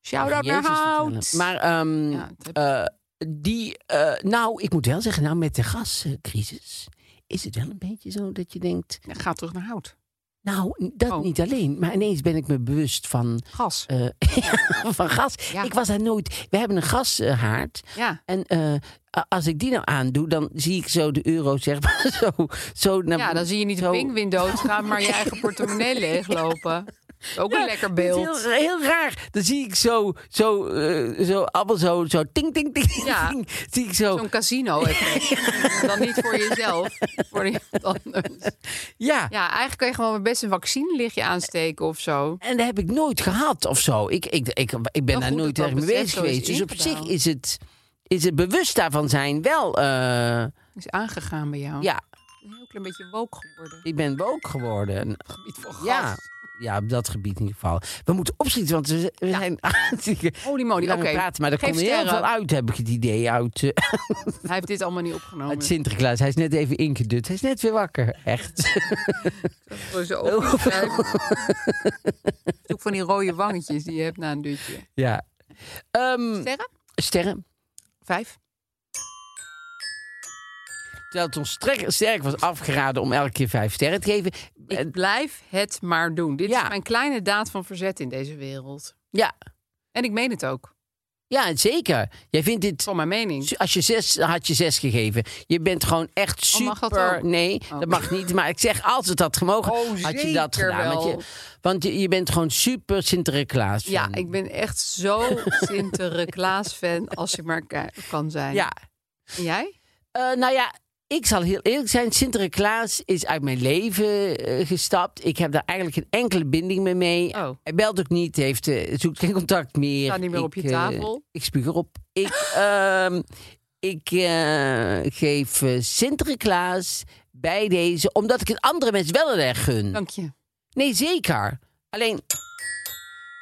Speaker 6: Shout-out naar
Speaker 2: Jezus, wat
Speaker 6: hout.
Speaker 2: wel. Maar ehm,
Speaker 6: Ja, het heb-
Speaker 2: eh, die... eh, nou, ik moet wel zeggen, nou met de gascrisis... is het wel een beetje zo dat je denkt...
Speaker 6: Ja, ga terug naar hout.
Speaker 2: Nou, n- dat
Speaker 6: Oh.
Speaker 2: niet alleen. Maar ineens ben ik me bewust van,
Speaker 6: Gas.
Speaker 2: eh, (laughs) van gas.
Speaker 6: Ja.
Speaker 2: Ik was daar nooit... We hebben een gashaard.
Speaker 6: Ja.
Speaker 2: en eh, a- als ik die nou aandoe, dan zie ik zo de euro zeg maar (laughs) zo... zo naar,
Speaker 6: Ja, dan zie je niet de
Speaker 2: eh, zo-
Speaker 6: pinguïn doodgaan,
Speaker 2: (laughs)
Speaker 6: maar je eigen portemonnee leeglopen. Dat is Ook een
Speaker 2: Ja,
Speaker 6: lekker
Speaker 2: dat is
Speaker 6: beeld.
Speaker 2: Heel, heel raar. Dan zie ik zo, zo, eh, zo, appel, zo, zo, ting, ting, ting,
Speaker 6: Ja.
Speaker 2: (laughs) ting. Zie ik zo,
Speaker 6: Zo'n casino
Speaker 2: (laughs)
Speaker 6: effect. Dan niet voor jezelf, voor iemand anders.
Speaker 2: ja.
Speaker 6: Ja, eigenlijk kan je gewoon best een vaccinlichtje aansteken of zo.
Speaker 2: En dat heb ik nooit gehad of zo. Ik, ik, ik, ik ben
Speaker 6: goed
Speaker 2: daar
Speaker 6: dat
Speaker 2: nooit
Speaker 6: dat
Speaker 2: erg mee
Speaker 6: besef
Speaker 2: bezig
Speaker 6: zo is
Speaker 2: geweest. Dus op zich
Speaker 6: ingedaald.
Speaker 2: is het, is het bewust daarvan zijn wel... eh,
Speaker 6: Is aangegaan bij jou.
Speaker 2: ja,
Speaker 6: Een heel klein beetje woke geworden.
Speaker 2: Ik ben woke geworden.
Speaker 6: Gebied van gas.
Speaker 2: Ja. Ja, op dat gebied in ieder geval. We moeten opschieten, want we, we zijn (laughs) hartstikke
Speaker 6: Holy moly,
Speaker 2: lang aan
Speaker 6: Oh, oké.
Speaker 2: het praten. Maar er
Speaker 6: Geef
Speaker 2: komt heel
Speaker 6: sterren.
Speaker 2: veel uit, heb ik het idee, uit, eh,
Speaker 6: Hij heeft dit allemaal niet opgenomen.
Speaker 2: uit Sinterklaas. Hij is net even ingedut. Hij is net weer wakker, echt. (laughs)
Speaker 6: Voor zijn ogen kruipen. Het is Ook van die rode wangetjes die je hebt na een dutje.
Speaker 2: Ja. Ehm,
Speaker 6: Sterren?
Speaker 2: sterren.
Speaker 6: Vijf.
Speaker 2: Terwijl het ons strek- sterk was afgeraden om elke keer vijf sterren te geven. Eh,
Speaker 6: Ik blijf het maar doen. Dit
Speaker 2: Ja.
Speaker 6: is mijn kleine daad van verzet in deze wereld.
Speaker 2: Ja,
Speaker 6: En ik meen het ook.
Speaker 2: ja, zeker. Jij vindt dit...
Speaker 6: Van mijn mening.
Speaker 2: Als je zes, had je zes gegeven. Je bent gewoon echt
Speaker 6: Oh,
Speaker 2: super.
Speaker 6: mag dat ook?
Speaker 2: nee,
Speaker 6: Oh.
Speaker 2: dat mag niet. Maar ik zeg, als het had gemogen,
Speaker 6: Oh,
Speaker 2: had je
Speaker 6: zeker
Speaker 2: dat gedaan. Want,
Speaker 6: wel.
Speaker 2: je, want je, je bent gewoon super Sinterklaas.
Speaker 6: Ja,
Speaker 2: fan.
Speaker 6: ik ben echt (laughs) zo Sinterklaas-fan als je maar ka- kan zijn.
Speaker 2: Ja.
Speaker 6: En jij?
Speaker 2: Eh, nou ja, ik zal heel eerlijk zijn. Sinterklaas is uit mijn leven eh, gestapt. Ik heb daar eigenlijk geen enkele binding mee. mee.
Speaker 6: Oh.
Speaker 2: Hij belt ook niet, heeft, eh, zoekt geen contact meer.
Speaker 6: Staat niet meer
Speaker 2: Ik,
Speaker 6: op je
Speaker 2: eh,
Speaker 6: tafel.
Speaker 2: ik spuug erop. Ik, (laughs) ehm, ik eh, geef eh, Sinterklaas bij deze, omdat ik het andere mensen wel heel erg gun.
Speaker 6: Dank je.
Speaker 2: Nee, zeker. Alleen,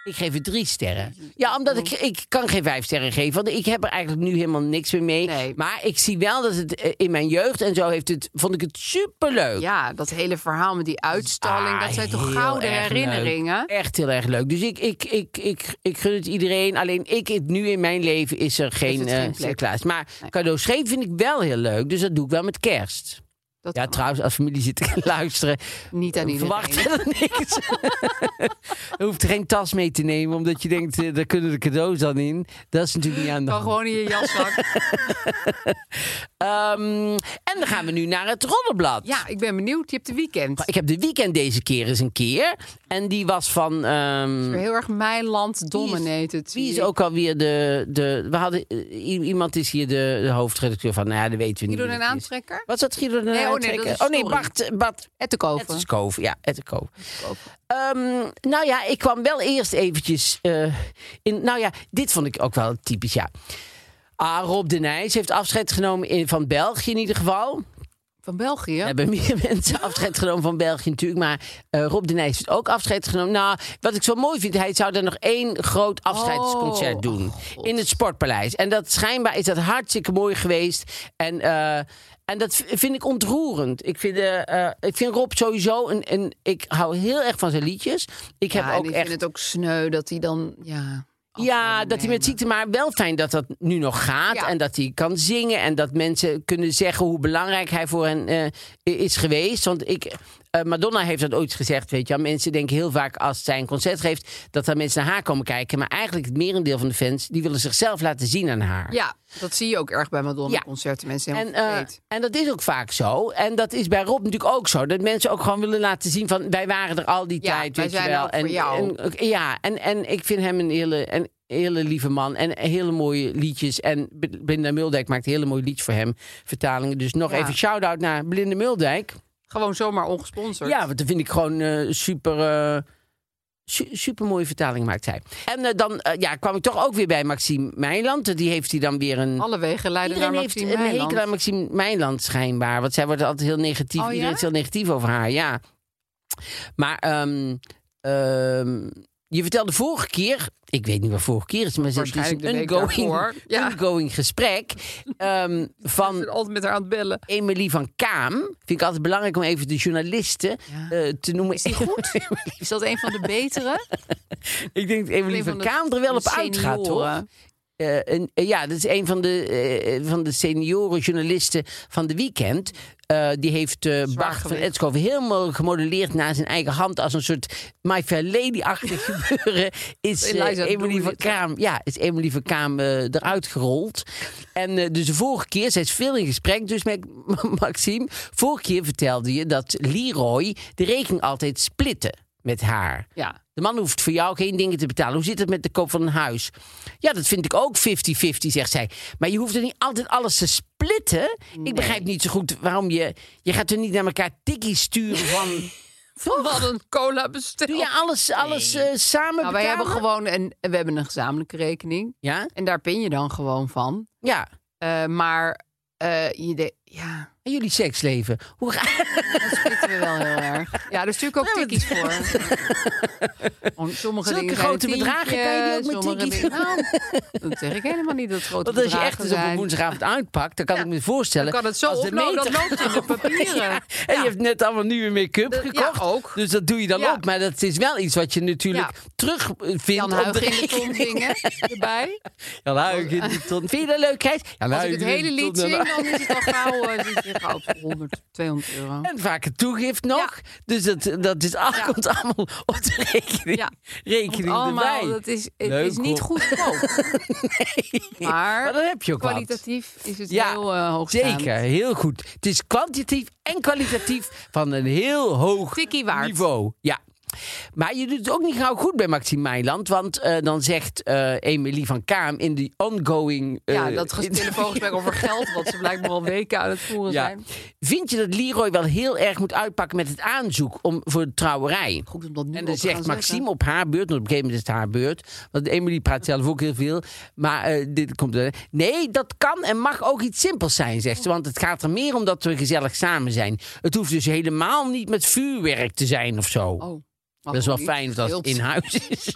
Speaker 2: Ik geef het drie sterren. Ja, omdat ik, ik kan geen vijf sterren geven. Want ik heb er eigenlijk nu helemaal niks meer mee.
Speaker 6: Nee.
Speaker 2: Maar ik zie wel dat het eh, in mijn jeugd en zo heeft het, vond ik het superleuk.
Speaker 6: Ja, dat hele verhaal met die uitstalling.
Speaker 2: Ah,
Speaker 6: dat zijn
Speaker 2: heel
Speaker 6: toch gouden
Speaker 2: erg
Speaker 6: herinneringen.
Speaker 2: leuk. Echt heel erg leuk. Dus ik, ik, ik, ik, ik gun het iedereen. Alleen ik, het- nu in mijn leven is er geen
Speaker 6: het geen
Speaker 2: eh
Speaker 6: plek.
Speaker 2: Sinterklaas. Maar cadeaus geven vind ik wel heel leuk. Dus dat doe ik wel met kerst.
Speaker 6: Dat
Speaker 2: Ja, trouwens, als familie zit te (laughs) luisteren,
Speaker 6: niet aan iedereen.
Speaker 2: verwacht
Speaker 6: (laughs)
Speaker 2: er niks. (laughs) je hoeft geen tas mee te nemen, omdat je denkt, eh, daar kunnen de cadeaus dan in. Dat is natuurlijk niet aan de
Speaker 6: Kan
Speaker 2: hand.
Speaker 6: gewoon in je
Speaker 2: (laughs)
Speaker 6: jaszak.
Speaker 2: Ehm, en dan gaan we nu naar het roddelblad.
Speaker 6: ja, ik ben benieuwd. Je hebt de weekend.
Speaker 2: Ik heb de weekend deze keer eens een keer. En die was van... ehm,
Speaker 6: Heel erg mijn land dominated.
Speaker 2: Wie is ook alweer de. de we hadden, eh, i- iemand is hier de, de hoofdredacteur van. Nou ja, dat weten we niet.
Speaker 6: Guido
Speaker 2: wie
Speaker 6: den
Speaker 2: dat is.
Speaker 6: aantrekker?
Speaker 2: Wat is dat, Guido den
Speaker 6: Nee, oh nee,
Speaker 2: Aantrekker?
Speaker 6: dat is
Speaker 2: Oh nee,
Speaker 6: Story.
Speaker 2: Bart, eh, Bart
Speaker 6: En te kopen.
Speaker 2: Ettenskoof. Ja, Ettenskoof. Ehm nou ja, ik kwam wel eerst eventjes... eh, in, nou ja, dit vond ik ook wel typisch, ja. Ah, Rob de Nijs heeft afscheid genomen in, van België in ieder geval.
Speaker 6: Van België.
Speaker 2: Er hebben meer (laughs) mensen afscheid genomen van België natuurlijk. Maar eh, Rob de Nijs heeft ook afscheid genomen. Nou, wat ik zo mooi vind, hij zou daar nog één groot afscheidsconcert
Speaker 6: Oh,
Speaker 2: doen. in het Sportpaleis. En dat schijnbaar is dat hartstikke mooi geweest. En, eh, en dat v- vind ik ontroerend. Ik vind, eh, eh, ik vind Rob sowieso... Een, een, ik hou heel erg van zijn liedjes. Ik
Speaker 6: ja,
Speaker 2: heb ook
Speaker 6: en ik
Speaker 2: echt...
Speaker 6: vind het ook sneu dat hij dan... Ja,
Speaker 2: Ja, dat hij met ziekte, maar wel fijn dat dat nu nog gaat.
Speaker 6: Ja.
Speaker 2: En dat hij kan zingen. En dat mensen kunnen zeggen hoe belangrijk hij voor hen eh, is geweest. Want ik, eh, Madonna heeft dat ooit gezegd, weet je wel. Mensen denken heel vaak als zij een concert geeft... dat daar mensen naar haar komen kijken. Maar eigenlijk het merendeel van de fans... die willen zichzelf laten zien aan haar.
Speaker 6: ja, dat zie je ook erg bij
Speaker 2: Ja.
Speaker 6: Madonna-concerten. Mensen
Speaker 2: En,
Speaker 6: helemaal
Speaker 2: eh,
Speaker 6: vergeet.
Speaker 2: en dat is ook vaak zo. En dat is bij Rob natuurlijk ook zo. Dat mensen ook gewoon willen laten zien van... wij waren er al die
Speaker 6: Ja,
Speaker 2: tijd,
Speaker 6: wij
Speaker 2: weet je
Speaker 6: zijn
Speaker 2: wel.
Speaker 6: er ook voor
Speaker 2: en,
Speaker 6: jou.
Speaker 2: en- ja, en, en ik vind hem een hele, een hele lieve man. En hele mooie liedjes. En B- Belinda Muldijk maakt hele mooie liedjes voor hem. Vertalingen. Dus nog
Speaker 6: Ja.
Speaker 2: even shout-out naar Belinda Muldijk.
Speaker 6: Gewoon zomaar ongesponsord.
Speaker 2: Ja, want dat vind ik gewoon eh, super... eh, su- super mooie vertaling maakt hij. En eh, dan eh, ja, kwam ik toch ook weer bij Maxime Meiland. Die heeft hij dan weer een...
Speaker 6: Alle wegen leiden
Speaker 2: Iedereen
Speaker 6: naar
Speaker 2: heeft
Speaker 6: Maxime
Speaker 2: een hekel aan
Speaker 6: Meiland.
Speaker 2: Maxime Meiland schijnbaar. Want zij wordt er altijd heel negatief.
Speaker 6: Oh, ja?
Speaker 2: Iedereen is heel negatief over haar, ja. Maar ehm, ehm, je vertelde vorige keer... Ik weet niet wat vorige keer is, maar het is
Speaker 6: Waarschijnlijk
Speaker 2: een
Speaker 6: de week
Speaker 2: ongoing,
Speaker 6: daarvoor. Ja.
Speaker 2: ongoing
Speaker 6: (laughs)
Speaker 2: gesprek. ehm,
Speaker 6: Ik ben
Speaker 2: van
Speaker 6: altijd met haar aan het bellen.
Speaker 2: Emily van Kaam. Vind ik altijd belangrijk om even de journalisten
Speaker 6: Ja.
Speaker 2: eh, te noemen.
Speaker 6: Is die goed? Is dat een van de betere?
Speaker 2: (laughs)
Speaker 6: (laughs)
Speaker 2: ik denk dat Emily
Speaker 6: Een
Speaker 2: van,
Speaker 6: van de-
Speaker 2: Kaam er wel
Speaker 6: de
Speaker 2: op uitgaat, hoor.
Speaker 6: senioren.
Speaker 2: Eh, een- eh, ja, dat is een van de, eh, van de seniorenjournalisten van de weekend. Eh, die heeft eh Bart van
Speaker 6: gewicht.
Speaker 2: Etskoven helemaal gemodelleerd naar zijn eigen hand. Als een soort My Fair Lady-achtig (laughs) gebeuren. Is eh,
Speaker 6: Eliza
Speaker 2: Emily van
Speaker 6: Doolittle.
Speaker 2: Kaam, ja, is Emily van Kaam eh, eruit gerold. En eh, dus de vorige keer, zij is veel in gesprek dus met (laughs) Maxime. Vorige keer vertelde je dat Leroy de rekening altijd splitte met haar.
Speaker 6: Ja.
Speaker 2: De man hoeft voor jou geen dingen te betalen. Hoe zit het met de koop van een huis? Ja, dat vind ik ook 50-50, zegt zij. Maar je hoeft er niet altijd alles te splitten. Ik begrijp niet zo goed waarom je... Je gaat er niet naar elkaar tikkies sturen van...
Speaker 6: (laughs)
Speaker 2: oh,
Speaker 6: Van wat een cola bestel.
Speaker 2: Doe je alles, alles eh, samen
Speaker 6: nou, wij hebben
Speaker 2: betalen?
Speaker 6: gewoon een, we hebben een gezamenlijke rekening.
Speaker 2: Ja?
Speaker 6: En daar pin je dan gewoon van.
Speaker 2: Ja.
Speaker 6: Eh, maar eh, je de- ja,
Speaker 2: En jullie seksleven. Hoe ga...
Speaker 6: dat splitten we wel heel erg. Ja, er stuur ik ook
Speaker 2: Ja, maar-
Speaker 6: tikkies voor.
Speaker 2: (laughs)
Speaker 6: Want sommige
Speaker 2: Zulke
Speaker 6: dingen zijn
Speaker 2: grote
Speaker 6: een
Speaker 2: bedragen kan je die ook met
Speaker 6: sommige
Speaker 2: tikkies-
Speaker 6: dingen- Nou, dat zeg ik helemaal niet dat het grote
Speaker 2: (laughs) Want als je
Speaker 6: bedragen
Speaker 2: echt eens op een
Speaker 6: zijn.
Speaker 2: woensdagavond uitpakt... dan kan ik me voorstellen...
Speaker 6: Dan kan het zo
Speaker 2: als de
Speaker 6: oplopen, dat
Speaker 2: meter-
Speaker 6: loopt in de papieren.
Speaker 2: (laughs) Ja, En je hebt net allemaal nieuwe make-up
Speaker 6: Dat- Eh, ja,
Speaker 2: gekocht.
Speaker 6: ook.
Speaker 2: Dus dat doe je dan
Speaker 6: Ja.
Speaker 2: op. Maar dat is wel iets wat je natuurlijk
Speaker 6: Ja.
Speaker 2: terugvindt.
Speaker 6: Jan
Speaker 2: op de
Speaker 6: Huig in de
Speaker 2: rekening.
Speaker 6: ton zingen
Speaker 2: (laughs)
Speaker 6: erbij.
Speaker 2: Ja, luik in
Speaker 6: (laughs)
Speaker 2: de ton. Vind je dat leuk, Gijs? Ja,
Speaker 6: Als
Speaker 2: luik
Speaker 6: ik het
Speaker 2: in Nou, de
Speaker 6: hele lied
Speaker 2: ton.
Speaker 6: zing, dan is het al
Speaker 2: (laughs)
Speaker 6: gauw, eh, zit je gauw op 100, 200 euro.
Speaker 2: En vaak een toegift nog. Dus dat, dat is, al-
Speaker 6: Ja.
Speaker 2: komt allemaal op de rekening,
Speaker 6: Ja.
Speaker 2: rekening
Speaker 6: Allemaal,
Speaker 2: erbij.
Speaker 6: dat is, het
Speaker 2: Leuk,
Speaker 6: is niet
Speaker 2: hoor. (laughs)
Speaker 6: goedkoop. Maar,
Speaker 2: Maar dan heb je ook wat.
Speaker 6: kwalitatief is het
Speaker 2: Ja,
Speaker 6: heel eh hoogstaand.
Speaker 2: Zeker, heel goed. Het is kwantitatief en kwalitatief van een heel hoog
Speaker 6: Tikkie waard.
Speaker 2: niveau. Ja. Maar je doet het ook niet gauw goed bij Maxime Meiland. Want eh, dan zegt eh Emily van Kaam in die ongoing... eh,
Speaker 6: Ja, dat ges-
Speaker 2: interview-
Speaker 6: telefoongesprek (laughs) over geld, wat ze blijkbaar al weken aan het voeren
Speaker 2: Ja.
Speaker 6: zijn.
Speaker 2: Vind je dat Leroy wel heel erg moet uitpakken met het aanzoek om, voor de trouwerij?
Speaker 6: Goed om dat nu
Speaker 2: En
Speaker 6: al
Speaker 2: dan
Speaker 6: te
Speaker 2: zegt
Speaker 6: gaan
Speaker 2: Maxime
Speaker 6: zeggen.
Speaker 2: op haar beurt, want op een gegeven moment is het haar beurt. Want Emily praat zelf ook heel veel. Maar eh, dit komt er. Nee, dat kan en mag ook iets simpels zijn, zegt ze. Want het gaat er meer om dat we gezellig samen zijn. Het hoeft dus helemaal niet met vuurwerk te zijn of zo.
Speaker 6: Oh.
Speaker 2: Dat is wel
Speaker 6: ook niet.
Speaker 2: fijn of dat
Speaker 6: Heel
Speaker 2: het in huis is. (laughs)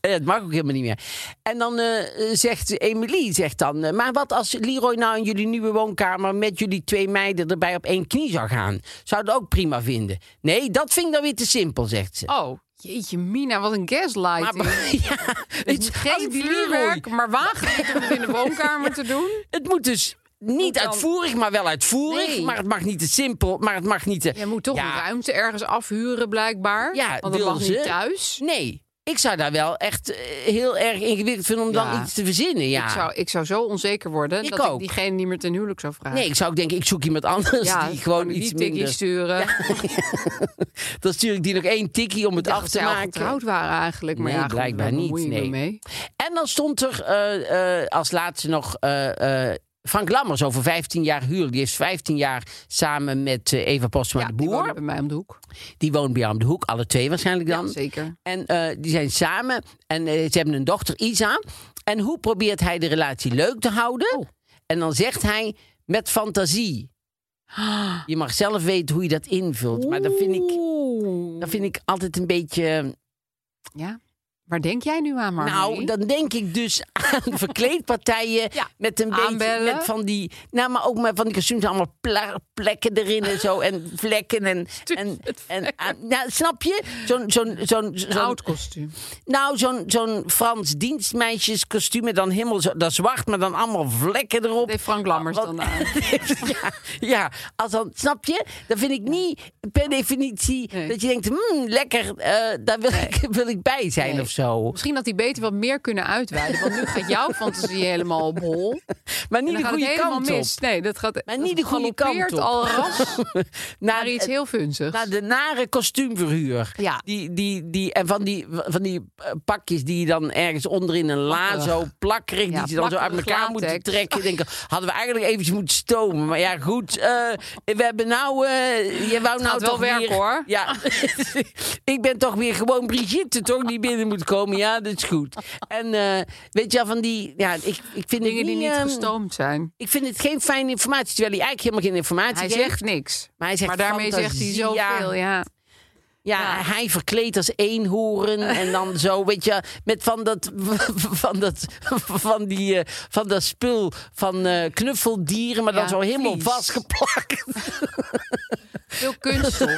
Speaker 2: Eh, het mag ook helemaal niet meer. En dan eh, zegt Emily, zegt dan, eh, maar wat als Leroy nou in jullie nieuwe woonkamer met jullie twee meiden erbij op één knie zou gaan? Zou dat ook prima vinden? Nee, dat vind ik dan weer te simpel, zegt ze.
Speaker 6: Oh, jeetje Mina, wat een gaslighting.
Speaker 2: maar, (laughs) ja,
Speaker 6: (laughs) Het
Speaker 2: het,
Speaker 6: is
Speaker 2: als
Speaker 6: geen
Speaker 2: ik Leroy,
Speaker 6: vuurwerk, maar wagen het om het in de woonkamer te (laughs) doen.
Speaker 2: het moet dus niet
Speaker 6: dan-
Speaker 2: uitvoerig, maar wel uitvoerig.
Speaker 6: Nee.
Speaker 2: Maar het mag niet te simpel, maar het mag niet te...
Speaker 6: Je moet toch
Speaker 2: Ja.
Speaker 6: een ruimte ergens afhuren blijkbaar.
Speaker 2: Ja,
Speaker 6: want dat
Speaker 2: wil
Speaker 6: mag
Speaker 2: ze.
Speaker 6: niet thuis.
Speaker 2: Nee, ik zou daar wel echt eh, heel erg ingewikkeld vinden om
Speaker 6: Ja.
Speaker 2: dan iets te verzinnen. Ja.
Speaker 6: Ik, zou, ik zou zo onzeker worden
Speaker 2: Ik
Speaker 6: dat
Speaker 2: ook.
Speaker 6: ik diegene niet meer ten huwelijk zou vragen.
Speaker 2: Nee, ik zou ook denken, ik zoek iemand anders (laughs) die gewoon
Speaker 6: een
Speaker 2: iets
Speaker 6: tikkie
Speaker 2: minder...
Speaker 6: sturen. (laughs)
Speaker 2: Dan stuur ik die nog één tikkie om het
Speaker 6: Ik dacht
Speaker 2: af
Speaker 6: dat
Speaker 2: te
Speaker 6: zij al
Speaker 2: maken.
Speaker 6: getrouwd waren eigenlijk. Maar
Speaker 2: Nee,
Speaker 6: ja, goed,
Speaker 2: blijkbaar
Speaker 6: daar
Speaker 2: niet,
Speaker 6: bemoei je me
Speaker 2: nee.
Speaker 6: Mee.
Speaker 2: En dan stond er eh, eh, als laatste nog eh, eh, Frank Lammers over 15 jaar huwelijk. Die is 15 jaar samen met eh, Eva Postma
Speaker 6: Ja,
Speaker 2: de
Speaker 6: die
Speaker 2: Boer.
Speaker 6: wonen bij mij om de hoek.
Speaker 2: Die woont bij jou om de hoek, alle twee waarschijnlijk dan.
Speaker 6: Ja, zeker.
Speaker 2: En eh, die zijn samen en eh, ze hebben een dochter, Isa. En hoe probeert hij de relatie leuk te houden?
Speaker 6: Oh.
Speaker 2: En dan zegt hij met
Speaker 6: (gasps)
Speaker 2: fantasie. Je mag zelf weten hoe je dat invult. Maar dat vind ik, dat vind ik altijd een beetje... eh,
Speaker 6: Ja. Waar denk jij nu aan, Mark?
Speaker 2: Nou, dan denk ik dus
Speaker 6: (laughs)
Speaker 2: aan verkleedpartijen
Speaker 6: Ja,
Speaker 2: met een beetje
Speaker 6: aanbellen.
Speaker 2: met van die, nou, maar ook met van die kostuums allemaal pla- plekken erin en zo en vlekken en en, en aan- nou, snap je? Zo'n zo'n zo'n zo'n-
Speaker 6: oud
Speaker 2: (laughs)
Speaker 6: kostuum.
Speaker 2: nou zo'n zo'n Frans dienstmeisjeskostuum en dan helemaal zo, dat zwart, maar dan allemaal vlekken erop.
Speaker 6: Deed Frank Lammers
Speaker 2: Wat- (laughs)
Speaker 6: dan aan.
Speaker 2: ja, ja, als dan, snap je? Dan vind ik niet per definitie
Speaker 6: Nee.
Speaker 2: dat je denkt, hmm, lekker, eh, daar wil, ik, (laughs) wil ik bij zijn
Speaker 6: Nee.
Speaker 2: of zo.
Speaker 6: (laughs) Misschien dat die beter wat meer kunnen uitweiden. Want nu gaat
Speaker 2: (laughs)
Speaker 6: jouw fantasie helemaal op hol.
Speaker 2: Maar
Speaker 6: En
Speaker 2: niet de
Speaker 6: dan gaat het
Speaker 2: goede
Speaker 6: helemaal
Speaker 2: kant op.
Speaker 6: mis. Nee, dat gaat
Speaker 2: Maar
Speaker 6: dat
Speaker 2: niet de goede
Speaker 6: galoppeert
Speaker 2: kant op. (laughs) Nou,
Speaker 6: al ras
Speaker 2: naar,
Speaker 6: naar iets heel funzigs.
Speaker 2: naar de nare kostuumverhuur.
Speaker 6: Ja.
Speaker 2: Die, die, die, en van die, van die eh, pakjes die je dan ergens onderin een la
Speaker 6: Plakkerig.
Speaker 2: zo plakkerig,
Speaker 6: Ja,
Speaker 2: die je dan zo uit
Speaker 6: plakkerig
Speaker 2: elkaar
Speaker 6: latex.
Speaker 2: moeten trekken. Denken, hadden we eigenlijk eventjes moeten stomen. Maar ja, goed, eh, we hebben nou... eh, je wou nou
Speaker 6: gaat wel
Speaker 2: toch
Speaker 6: werken,
Speaker 2: weer-
Speaker 6: hoor.
Speaker 2: Ja. (laughs) ik ben toch weer gewoon Brigitte, toch, die binnen moet komen. Ja, dat is goed. En eh, weet je wel, van die... Ja, ik, ik vind het
Speaker 6: Dingen die niet
Speaker 2: ehm,
Speaker 6: gestoomd zijn.
Speaker 2: Ik vind het geen fijne informatie, terwijl hij eigenlijk helemaal geen informatie
Speaker 6: Hij
Speaker 2: geeft.
Speaker 6: zegt niks.
Speaker 2: Maar, hij zegt
Speaker 6: Maar daarmee zegt hij
Speaker 2: fantasie,
Speaker 6: zoveel,
Speaker 2: Ja,
Speaker 6: ja.
Speaker 2: ja,
Speaker 6: Ja.
Speaker 2: hij verkleed als eenhoorn en dan
Speaker 6: (laughs)
Speaker 2: zo, weet je, met van dat, (laughs) van dat, van die, eh, van dat spul van eh, knuffeldieren, maar dan
Speaker 6: Ja,
Speaker 2: zo helemaal
Speaker 6: vlies.
Speaker 2: vastgeplakt. (laughs)
Speaker 6: Veel kunststof.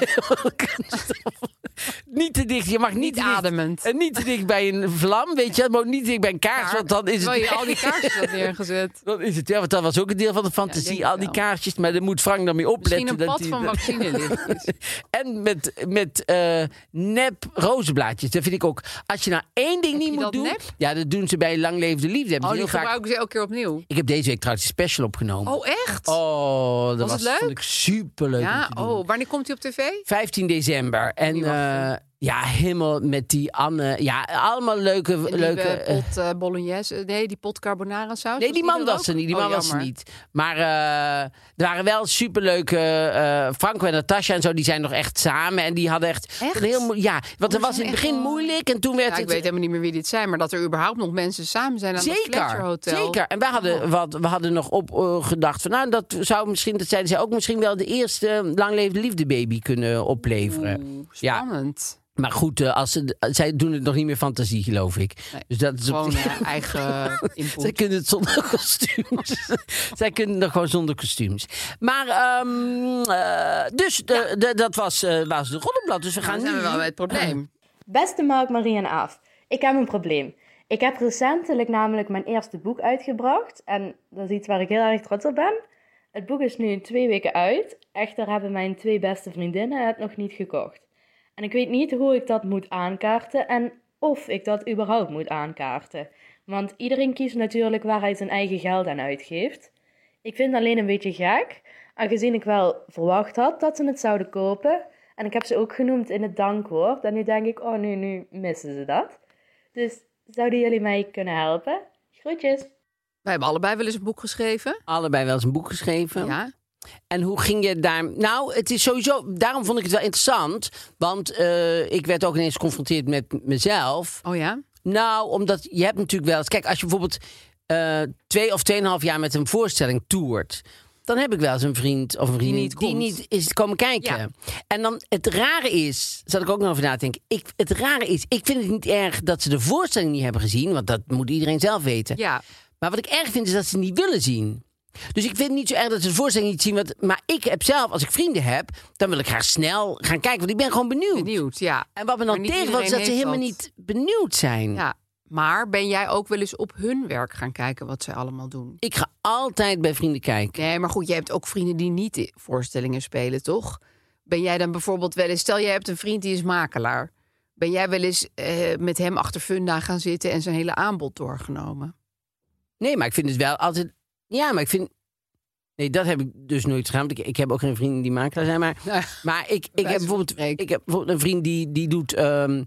Speaker 2: niet te dicht, je mag niet,
Speaker 6: Niet
Speaker 2: te dicht-
Speaker 6: ademend.
Speaker 2: En niet te dicht bij een vlam, weet je, maar ook niet te dicht bij een kaars, want dan is het...
Speaker 6: Terwijl je al die kaartjes had neergezet.
Speaker 2: (laughs) Dan is het, ja, want dat was ook een deel van de fantasie,
Speaker 6: denk ik
Speaker 2: al die
Speaker 6: wel.
Speaker 2: kaarsjes. Maar daar moet Frank dan mee opletten.
Speaker 6: Misschien een
Speaker 2: dat
Speaker 6: pad
Speaker 2: hij- (laughs)
Speaker 6: van vaccinelichtjes.
Speaker 2: En met, met eh, nep rozenblaadjes. Dat vind ik ook. Als je nou één ding niet
Speaker 6: je
Speaker 2: moet
Speaker 6: dat
Speaker 2: doen.
Speaker 6: nep?
Speaker 2: Ja, dat doen ze bij Lang Levende Liefde. Hebben
Speaker 6: Oh,
Speaker 2: ze
Speaker 6: die
Speaker 2: heel vaak...
Speaker 6: gebruiken ze elke keer opnieuw.
Speaker 2: Ik heb deze week trouwens een special opgenomen.
Speaker 6: Oh, echt?
Speaker 2: Oh, dat was,
Speaker 6: Was het leuk?
Speaker 2: vond ik superleuk. om
Speaker 6: ja,
Speaker 2: te doen.
Speaker 6: oh, wanneer komt hij op tv?
Speaker 2: 15 december. En
Speaker 6: Niet wachten.
Speaker 2: eh, ja, helemaal met die Anne. Ja, allemaal leuke.
Speaker 6: En die
Speaker 2: leuke
Speaker 6: eh,
Speaker 2: eh,
Speaker 6: pot eh, bolognese, eh, nee, die pot carbonara saus.
Speaker 2: Nee, die man
Speaker 6: er
Speaker 2: was
Speaker 6: ook?
Speaker 2: er niet. Die
Speaker 6: Oh,
Speaker 2: man was er
Speaker 6: jammer.
Speaker 2: niet. Maar eh, er waren wel superleuke... eh Franco en Natasja en zo, die zijn nog echt samen. En die hadden echt...
Speaker 6: Echt?
Speaker 2: een Heel moe- ja, want het
Speaker 6: ze
Speaker 2: was in
Speaker 6: zijn
Speaker 2: het
Speaker 6: echt
Speaker 2: begin
Speaker 6: wel-
Speaker 2: moeilijk. En toen werd
Speaker 6: Ja,
Speaker 2: het...
Speaker 6: ik weet helemaal niet meer wie dit zijn, maar dat er überhaupt nog mensen samen zijn aan het Fletcher
Speaker 2: Zeker,
Speaker 6: Hotel. Oh.
Speaker 2: zeker. En wij hadden, wat, we hadden nog op eh, gedacht van, nou, dat zou misschien, dat zeiden zij ook, misschien wel de eerste lang levende liefde baby kunnen opleveren. ja,
Speaker 6: Spannend.
Speaker 2: maar goed, eh, als ze, zij doen het nog niet meer fantasie, geloof ik.
Speaker 6: Nee,
Speaker 2: dus dat is op
Speaker 6: Gewoon
Speaker 2: zich- (laughs)
Speaker 6: eh, eigen input.
Speaker 2: Zij kunnen het zonder (laughs) kostuums. Zij kunnen het gewoon zonder kostuums. Maar, ehm, eh, dus de, de- dat was, eh was de roddelblad. Dus we gaan
Speaker 6: Dan
Speaker 2: nu...
Speaker 6: Nou, zijn we wel bij het probleem.
Speaker 7: Beste Mark, Marie en Aaf, ik heb een probleem. Ik heb recentelijk namelijk mijn eerste boek uitgebracht. En dat is iets waar ik heel erg trots op ben. Het boek is nu twee weken uit. Echter hebben mijn twee beste vriendinnen het nog niet gekocht. En ik weet niet hoe ik dat moet aankaarten en of ik dat überhaupt moet aankaarten. Want iedereen kiest natuurlijk waar hij zijn eigen geld aan uitgeeft. Ik vind het alleen een beetje gek, aangezien ik wel verwacht had dat ze het zouden kopen. En ik heb ze ook genoemd in het dankwoord. En nu denk ik, oh nu, nu missen ze dat. Dus zouden jullie mij kunnen helpen? Groetjes!
Speaker 6: Wij hebben allebei wel eens een boek geschreven.
Speaker 2: Allebei wel eens een boek geschreven.
Speaker 6: Ja.
Speaker 2: En hoe ging je daar... Nou, het is sowieso... Daarom vond ik het wel interessant. Want eh, ik werd ook ineens geconfronteerd met mezelf.
Speaker 6: Oh ja?
Speaker 2: Nou, omdat je hebt natuurlijk wel... eens- Kijk, als je bijvoorbeeld eh, twee of tweeënhalf jaar met een voorstelling toert... dan heb ik wel eens een vriend of een vriendin
Speaker 6: niet
Speaker 2: die
Speaker 6: komt.
Speaker 2: niet is komen kijken.
Speaker 6: Ja.
Speaker 2: En dan het rare is, zat ik ook nog over na te denken. Ik, het rare is, ik vind het niet erg dat ze de voorstelling niet hebben gezien, want dat moet iedereen zelf weten.
Speaker 6: Ja.
Speaker 2: Maar wat ik erg vind is dat ze het niet willen zien. Dus ik vind het niet zo erg dat ze de voorstelling niet zien. Want, maar ik heb zelf, als ik vrienden heb, dan wil ik graag snel gaan kijken. Want ik ben gewoon benieuwd.
Speaker 6: Benieuwd, ja.
Speaker 2: En wat me
Speaker 6: Maar
Speaker 2: dan
Speaker 6: niet
Speaker 2: tegenvalt is
Speaker 6: iedereen
Speaker 2: dat ze
Speaker 6: heeft
Speaker 2: helemaal
Speaker 6: dat.
Speaker 2: niet benieuwd zijn.
Speaker 6: ja. Maar ben jij ook wel eens op hun werk gaan kijken wat zij allemaal doen?
Speaker 2: Ik ga altijd bij vrienden kijken.
Speaker 6: Nee, maar goed, je hebt ook vrienden die niet in voorstellingen spelen, toch? Ben jij dan bijvoorbeeld wel eens... Stel, jij hebt een vriend die is makelaar. Ben jij wel eens eh, met hem achter Funda gaan zitten... en zijn hele aanbod doorgenomen?
Speaker 2: Nee, maar ik vind het wel altijd... Ja, maar ik vind... Nee, dat heb ik dus nooit gedaan. want Ik, ik heb ook geen vrienden die makelaar zijn. Maar,
Speaker 6: Nou,
Speaker 2: maar ik, ik,
Speaker 6: wijze
Speaker 2: heb
Speaker 6: van
Speaker 2: bijvoorbeeld,
Speaker 6: spreken.
Speaker 2: ik heb bijvoorbeeld een vriend die, die doet... ehm,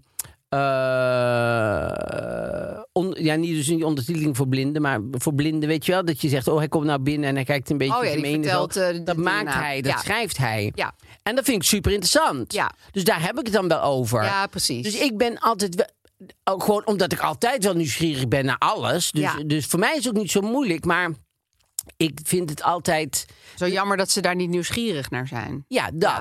Speaker 2: eh, on- ja, niet dus niet ondertiteling voor blinden, maar voor blinden weet je wel. Dat je zegt, oh hij komt nou binnen en hij kijkt een beetje
Speaker 6: Oh ja, die
Speaker 2: gemeen en zo.
Speaker 6: vertelt, eh, de
Speaker 2: dat
Speaker 6: dingen
Speaker 2: maakt
Speaker 6: na.
Speaker 2: hij, dat
Speaker 6: Ja.
Speaker 2: schrijft hij.
Speaker 6: Ja.
Speaker 2: En dat vind ik super interessant.
Speaker 6: Ja.
Speaker 2: Dus daar heb ik het dan wel over.
Speaker 6: Ja, precies.
Speaker 2: Dus ik ben altijd wel. Ook gewoon omdat ik altijd wel nieuwsgierig ben naar alles. Dus,
Speaker 6: Ja.
Speaker 2: dus voor mij is het ook niet zo moeilijk. Maar ik vind het altijd.
Speaker 6: Zo jammer dat ze daar niet nieuwsgierig naar zijn.
Speaker 2: Ja, dat.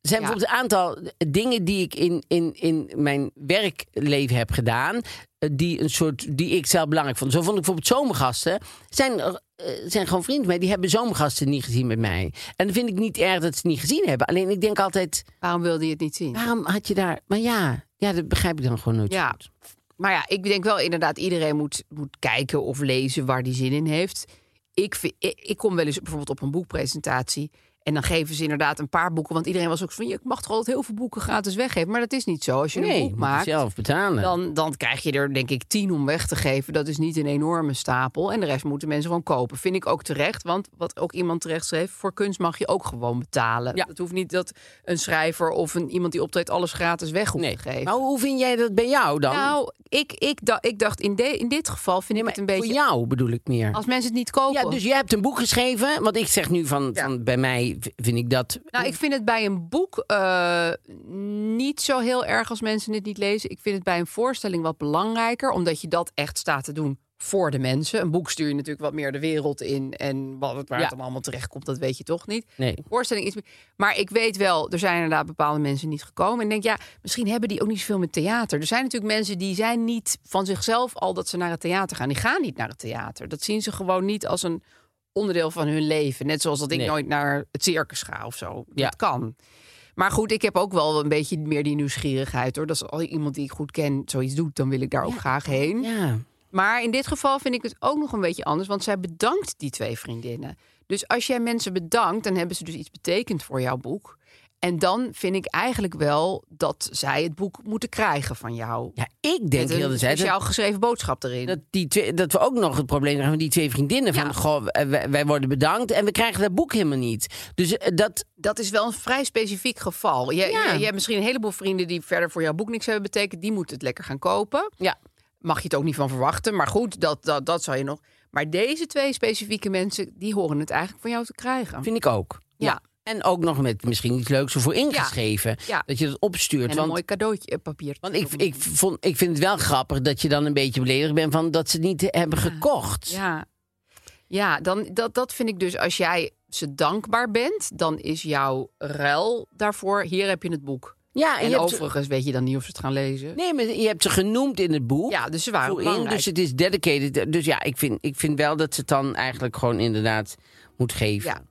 Speaker 2: Er zijn
Speaker 6: Ja.
Speaker 2: bijvoorbeeld een aantal dingen die ik in, in, in mijn werkleven heb gedaan. eh, Die, een soort, die ik zelf belangrijk vond. Zo vond ik bijvoorbeeld zomergasten. Zijn, er, eh, zijn gewoon vrienden van mij. Die hebben zomergasten niet gezien met mij. En dat vind ik niet erg dat ze het niet gezien hebben. Alleen ik denk altijd.
Speaker 6: Waarom wilde je het niet zien?
Speaker 2: Waarom had je daar. Maar ja, ja dat begrijp ik dan gewoon nooit. zo
Speaker 6: Ja.
Speaker 2: goed.
Speaker 6: Maar ja, ik denk wel inderdaad, iedereen moet, moet kijken of lezen waar die zin in heeft. Ik, vi- ik, ik kom wel eens bijvoorbeeld op een boekpresentatie. En dan geven ze inderdaad een paar boeken. Want iedereen was ook zo van, "Ja, ik mag toch altijd heel veel boeken gratis weggeven. Maar dat is niet zo. Als je
Speaker 2: Nee,
Speaker 6: een
Speaker 2: moet
Speaker 6: boek
Speaker 2: je
Speaker 6: maakt,
Speaker 2: zelf eh. betalen.
Speaker 6: dan, dan krijg je er denk ik tien om weg te geven. Dat is niet een enorme stapel. En de rest moeten mensen gewoon kopen. Vind ik ook terecht. Want wat ook iemand terecht schreef, voor kunst mag je ook gewoon betalen.
Speaker 2: Ja.
Speaker 6: Het hoeft niet dat een schrijver of een, iemand die optreedt alles gratis weg hoeft te geven.
Speaker 2: Maar hoe vind jij dat bij jou dan?
Speaker 6: Nou, ik, ik, da- ik dacht in, de- in dit geval vind ik het een beetje...
Speaker 2: Voor jou bedoel ik meer.
Speaker 6: Als mensen het niet kopen.
Speaker 2: Ja, dus jij hebt een boek geschreven. Want ik zeg nu van, van bij mij v- vind ik dat.
Speaker 6: Nou, ik vind het bij een boek eh, niet zo heel erg als mensen het niet lezen. Ik vind het bij een voorstelling wat belangrijker, omdat je dat echt staat te doen voor de mensen. Een boek stuur je natuurlijk wat meer de wereld in en wat, waar
Speaker 2: Ja.
Speaker 6: het dan allemaal terecht komt, dat weet je toch niet.
Speaker 2: Nee.
Speaker 6: Voorstelling is, maar ik weet wel, er zijn inderdaad bepaalde mensen niet gekomen en ik denk ja, misschien hebben die ook niet zoveel met theater. Er zijn natuurlijk mensen die zijn niet van zichzelf al dat ze naar het theater gaan. Die gaan niet naar het theater. Dat zien ze gewoon niet als een onderdeel van hun leven. Net zoals dat ik
Speaker 2: Nee.
Speaker 6: nooit naar het circus ga of zo.
Speaker 2: Ja.
Speaker 6: Dat kan. Maar goed, ik heb ook wel een beetje meer die nieuwsgierigheid hoor. Dat als al iemand die ik goed ken zoiets doet, dan wil ik daar ook graag heen.
Speaker 2: Ja.
Speaker 6: Maar in dit geval vind ik het ook nog een beetje anders, want zij bedankt die twee vriendinnen. Dus als jij mensen bedankt, dan hebben ze dus iets betekend voor jouw boek. En dan vind ik eigenlijk wel dat zij het boek moeten krijgen van jou.
Speaker 2: ja, ik denk
Speaker 6: Met
Speaker 2: heel
Speaker 6: een
Speaker 2: de tijd
Speaker 6: speciaal
Speaker 2: dat,
Speaker 6: geschreven boodschap erin.
Speaker 2: dat die twee, dat we ook nog het probleem hebben van die twee vriendinnen.
Speaker 6: Ja.
Speaker 2: Van, goh, eh, wij, wij worden bedankt en we krijgen dat boek helemaal niet. Dus eh, dat,
Speaker 6: dat is wel een vrij specifiek geval. Je,
Speaker 2: Ja.
Speaker 6: je, je hebt misschien een heleboel vrienden die verder voor jouw boek niks hebben betekend. Die moeten het lekker gaan kopen.
Speaker 2: Ja.
Speaker 6: Mag je het ook niet van verwachten. Maar goed, dat, dat, dat zou je nog. Maar deze twee specifieke mensen, die horen het eigenlijk van jou te krijgen.
Speaker 2: vind ik ook.
Speaker 6: Ja.
Speaker 2: En ook nog met misschien iets leuks ervoor ingeschreven.
Speaker 6: Ja.
Speaker 2: Dat je dat opstuurt.
Speaker 6: En een
Speaker 2: want
Speaker 6: mooi cadeautje eh, papier.
Speaker 2: want ik, ik, vond, ik vind het wel grappig dat je dan een beetje beledigd bent van dat ze het niet hebben gekocht.
Speaker 6: Ja, ja dan, dat, dat vind ik dus als jij ze dankbaar bent, dan is jouw ruil daarvoor. Hier heb je het boek.
Speaker 2: Ja, en,
Speaker 6: En,
Speaker 2: je hebt,
Speaker 6: overigens weet je dan niet of ze het gaan lezen.
Speaker 2: nee, maar je hebt ze genoemd in het boek.
Speaker 6: Ja, dus ze waren
Speaker 2: Voor in,
Speaker 6: belangrijk.
Speaker 2: dus het is dedicated. Dus ja, ik vind, ik vind wel dat ze het dan eigenlijk gewoon inderdaad moet geven.
Speaker 6: Ja.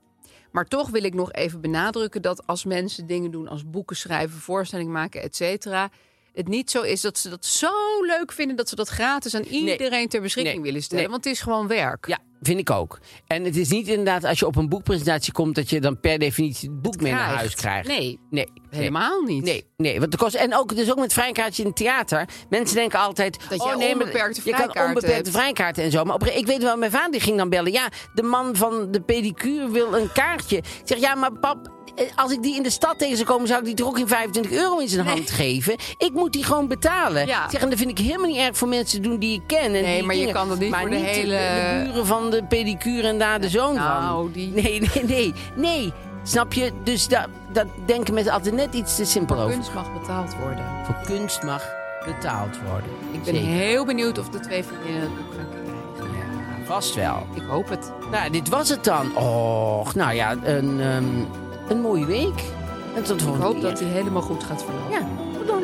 Speaker 6: Maar toch wil ik nog even benadrukken dat als mensen dingen doen als boeken schrijven, voorstellingen maken, et cetera. Het niet zo is dat ze dat zo leuk vinden dat ze dat gratis aan iedereen ter beschikking
Speaker 2: Nee.
Speaker 6: willen stellen.
Speaker 2: Nee.
Speaker 6: Want het is gewoon werk.
Speaker 2: Ja, vind ik ook. En het is niet inderdaad als je op een boekpresentatie komt dat je dan per definitie het boek mee naar
Speaker 6: Krijgt.
Speaker 2: huis krijgt.
Speaker 6: Nee,
Speaker 2: Nee,
Speaker 6: helemaal niet.
Speaker 2: Nee, nee, want de kost, en ook, dus ook met vrijkaartjes in het theater. Mensen denken altijd...
Speaker 6: Dat
Speaker 2: oh,
Speaker 6: je
Speaker 2: nee, maar
Speaker 6: onbeperkte
Speaker 2: Je kan
Speaker 6: vrijkaarten
Speaker 2: onbeperkte
Speaker 6: hebt.
Speaker 2: vrijkaarten en zo. Maar op, ik weet wel, mijn vader die ging dan bellen. Ja, de man van de pedicure wil een kaartje. Ik zeg, ja, maar pap, eh, als ik die in de stad tegen zou komen... zou ik die toch ook geen 25 euro in zijn hand geven. Ik moet die gewoon betalen.
Speaker 6: Ja.
Speaker 2: Ik Zeg, en dat vind ik helemaal niet erg voor mensen te doen die ik ken. En
Speaker 6: Nee,
Speaker 2: die
Speaker 6: maar je
Speaker 2: dingen.
Speaker 6: kan dat niet
Speaker 2: maar
Speaker 6: voor de
Speaker 2: niet
Speaker 6: hele-
Speaker 2: de buren van de pedicure en daar de zoon van.
Speaker 6: nou, die-
Speaker 2: Nee, nee, nee, nee. Snap je? Dus dat, dat denken mensen altijd net iets te simpel over
Speaker 6: Kunst mag betaald worden.
Speaker 2: voor kunst mag betaald worden.
Speaker 6: Ik ben heel benieuwd of de twee vriendinnen het boek gaan krijgen.
Speaker 2: Ja, Vast wel.
Speaker 6: Ik hoop het.
Speaker 2: Nou, dit was het dan. Och, nou ja, een, ehm, een mooie week. En tot
Speaker 6: Ik
Speaker 2: volgende
Speaker 6: hoop
Speaker 2: keer.
Speaker 6: dat hij helemaal goed gaat verlopen.
Speaker 2: Ja, tot dan.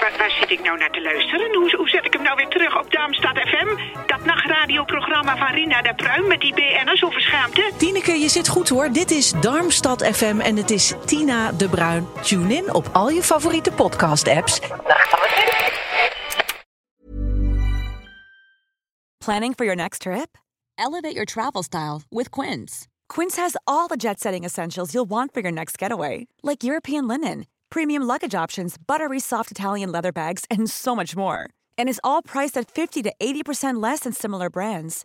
Speaker 8: Waar, waar zit ik nou naar te luisteren? Hoe, hoe zet ik hem nou weer terug op Darmstad FM? Dat nachtradioprogramma van Rina de Pruim met die BN'ers over schaamte?
Speaker 9: Tineke, je zit goed hoor. Dit is Darmstad FM en het is Tina de Bruin. Tune in op al je favoriete podcast-apps.
Speaker 10: Planning for your next trip? Elevate your travel style with Quince. Quince has all the jet setting essentials you'll want for your next getaway, like European linen, premium luggage options, buttery soft Italian leather bags, and so much more. And is all priced at 50 to 80% less than similar brands.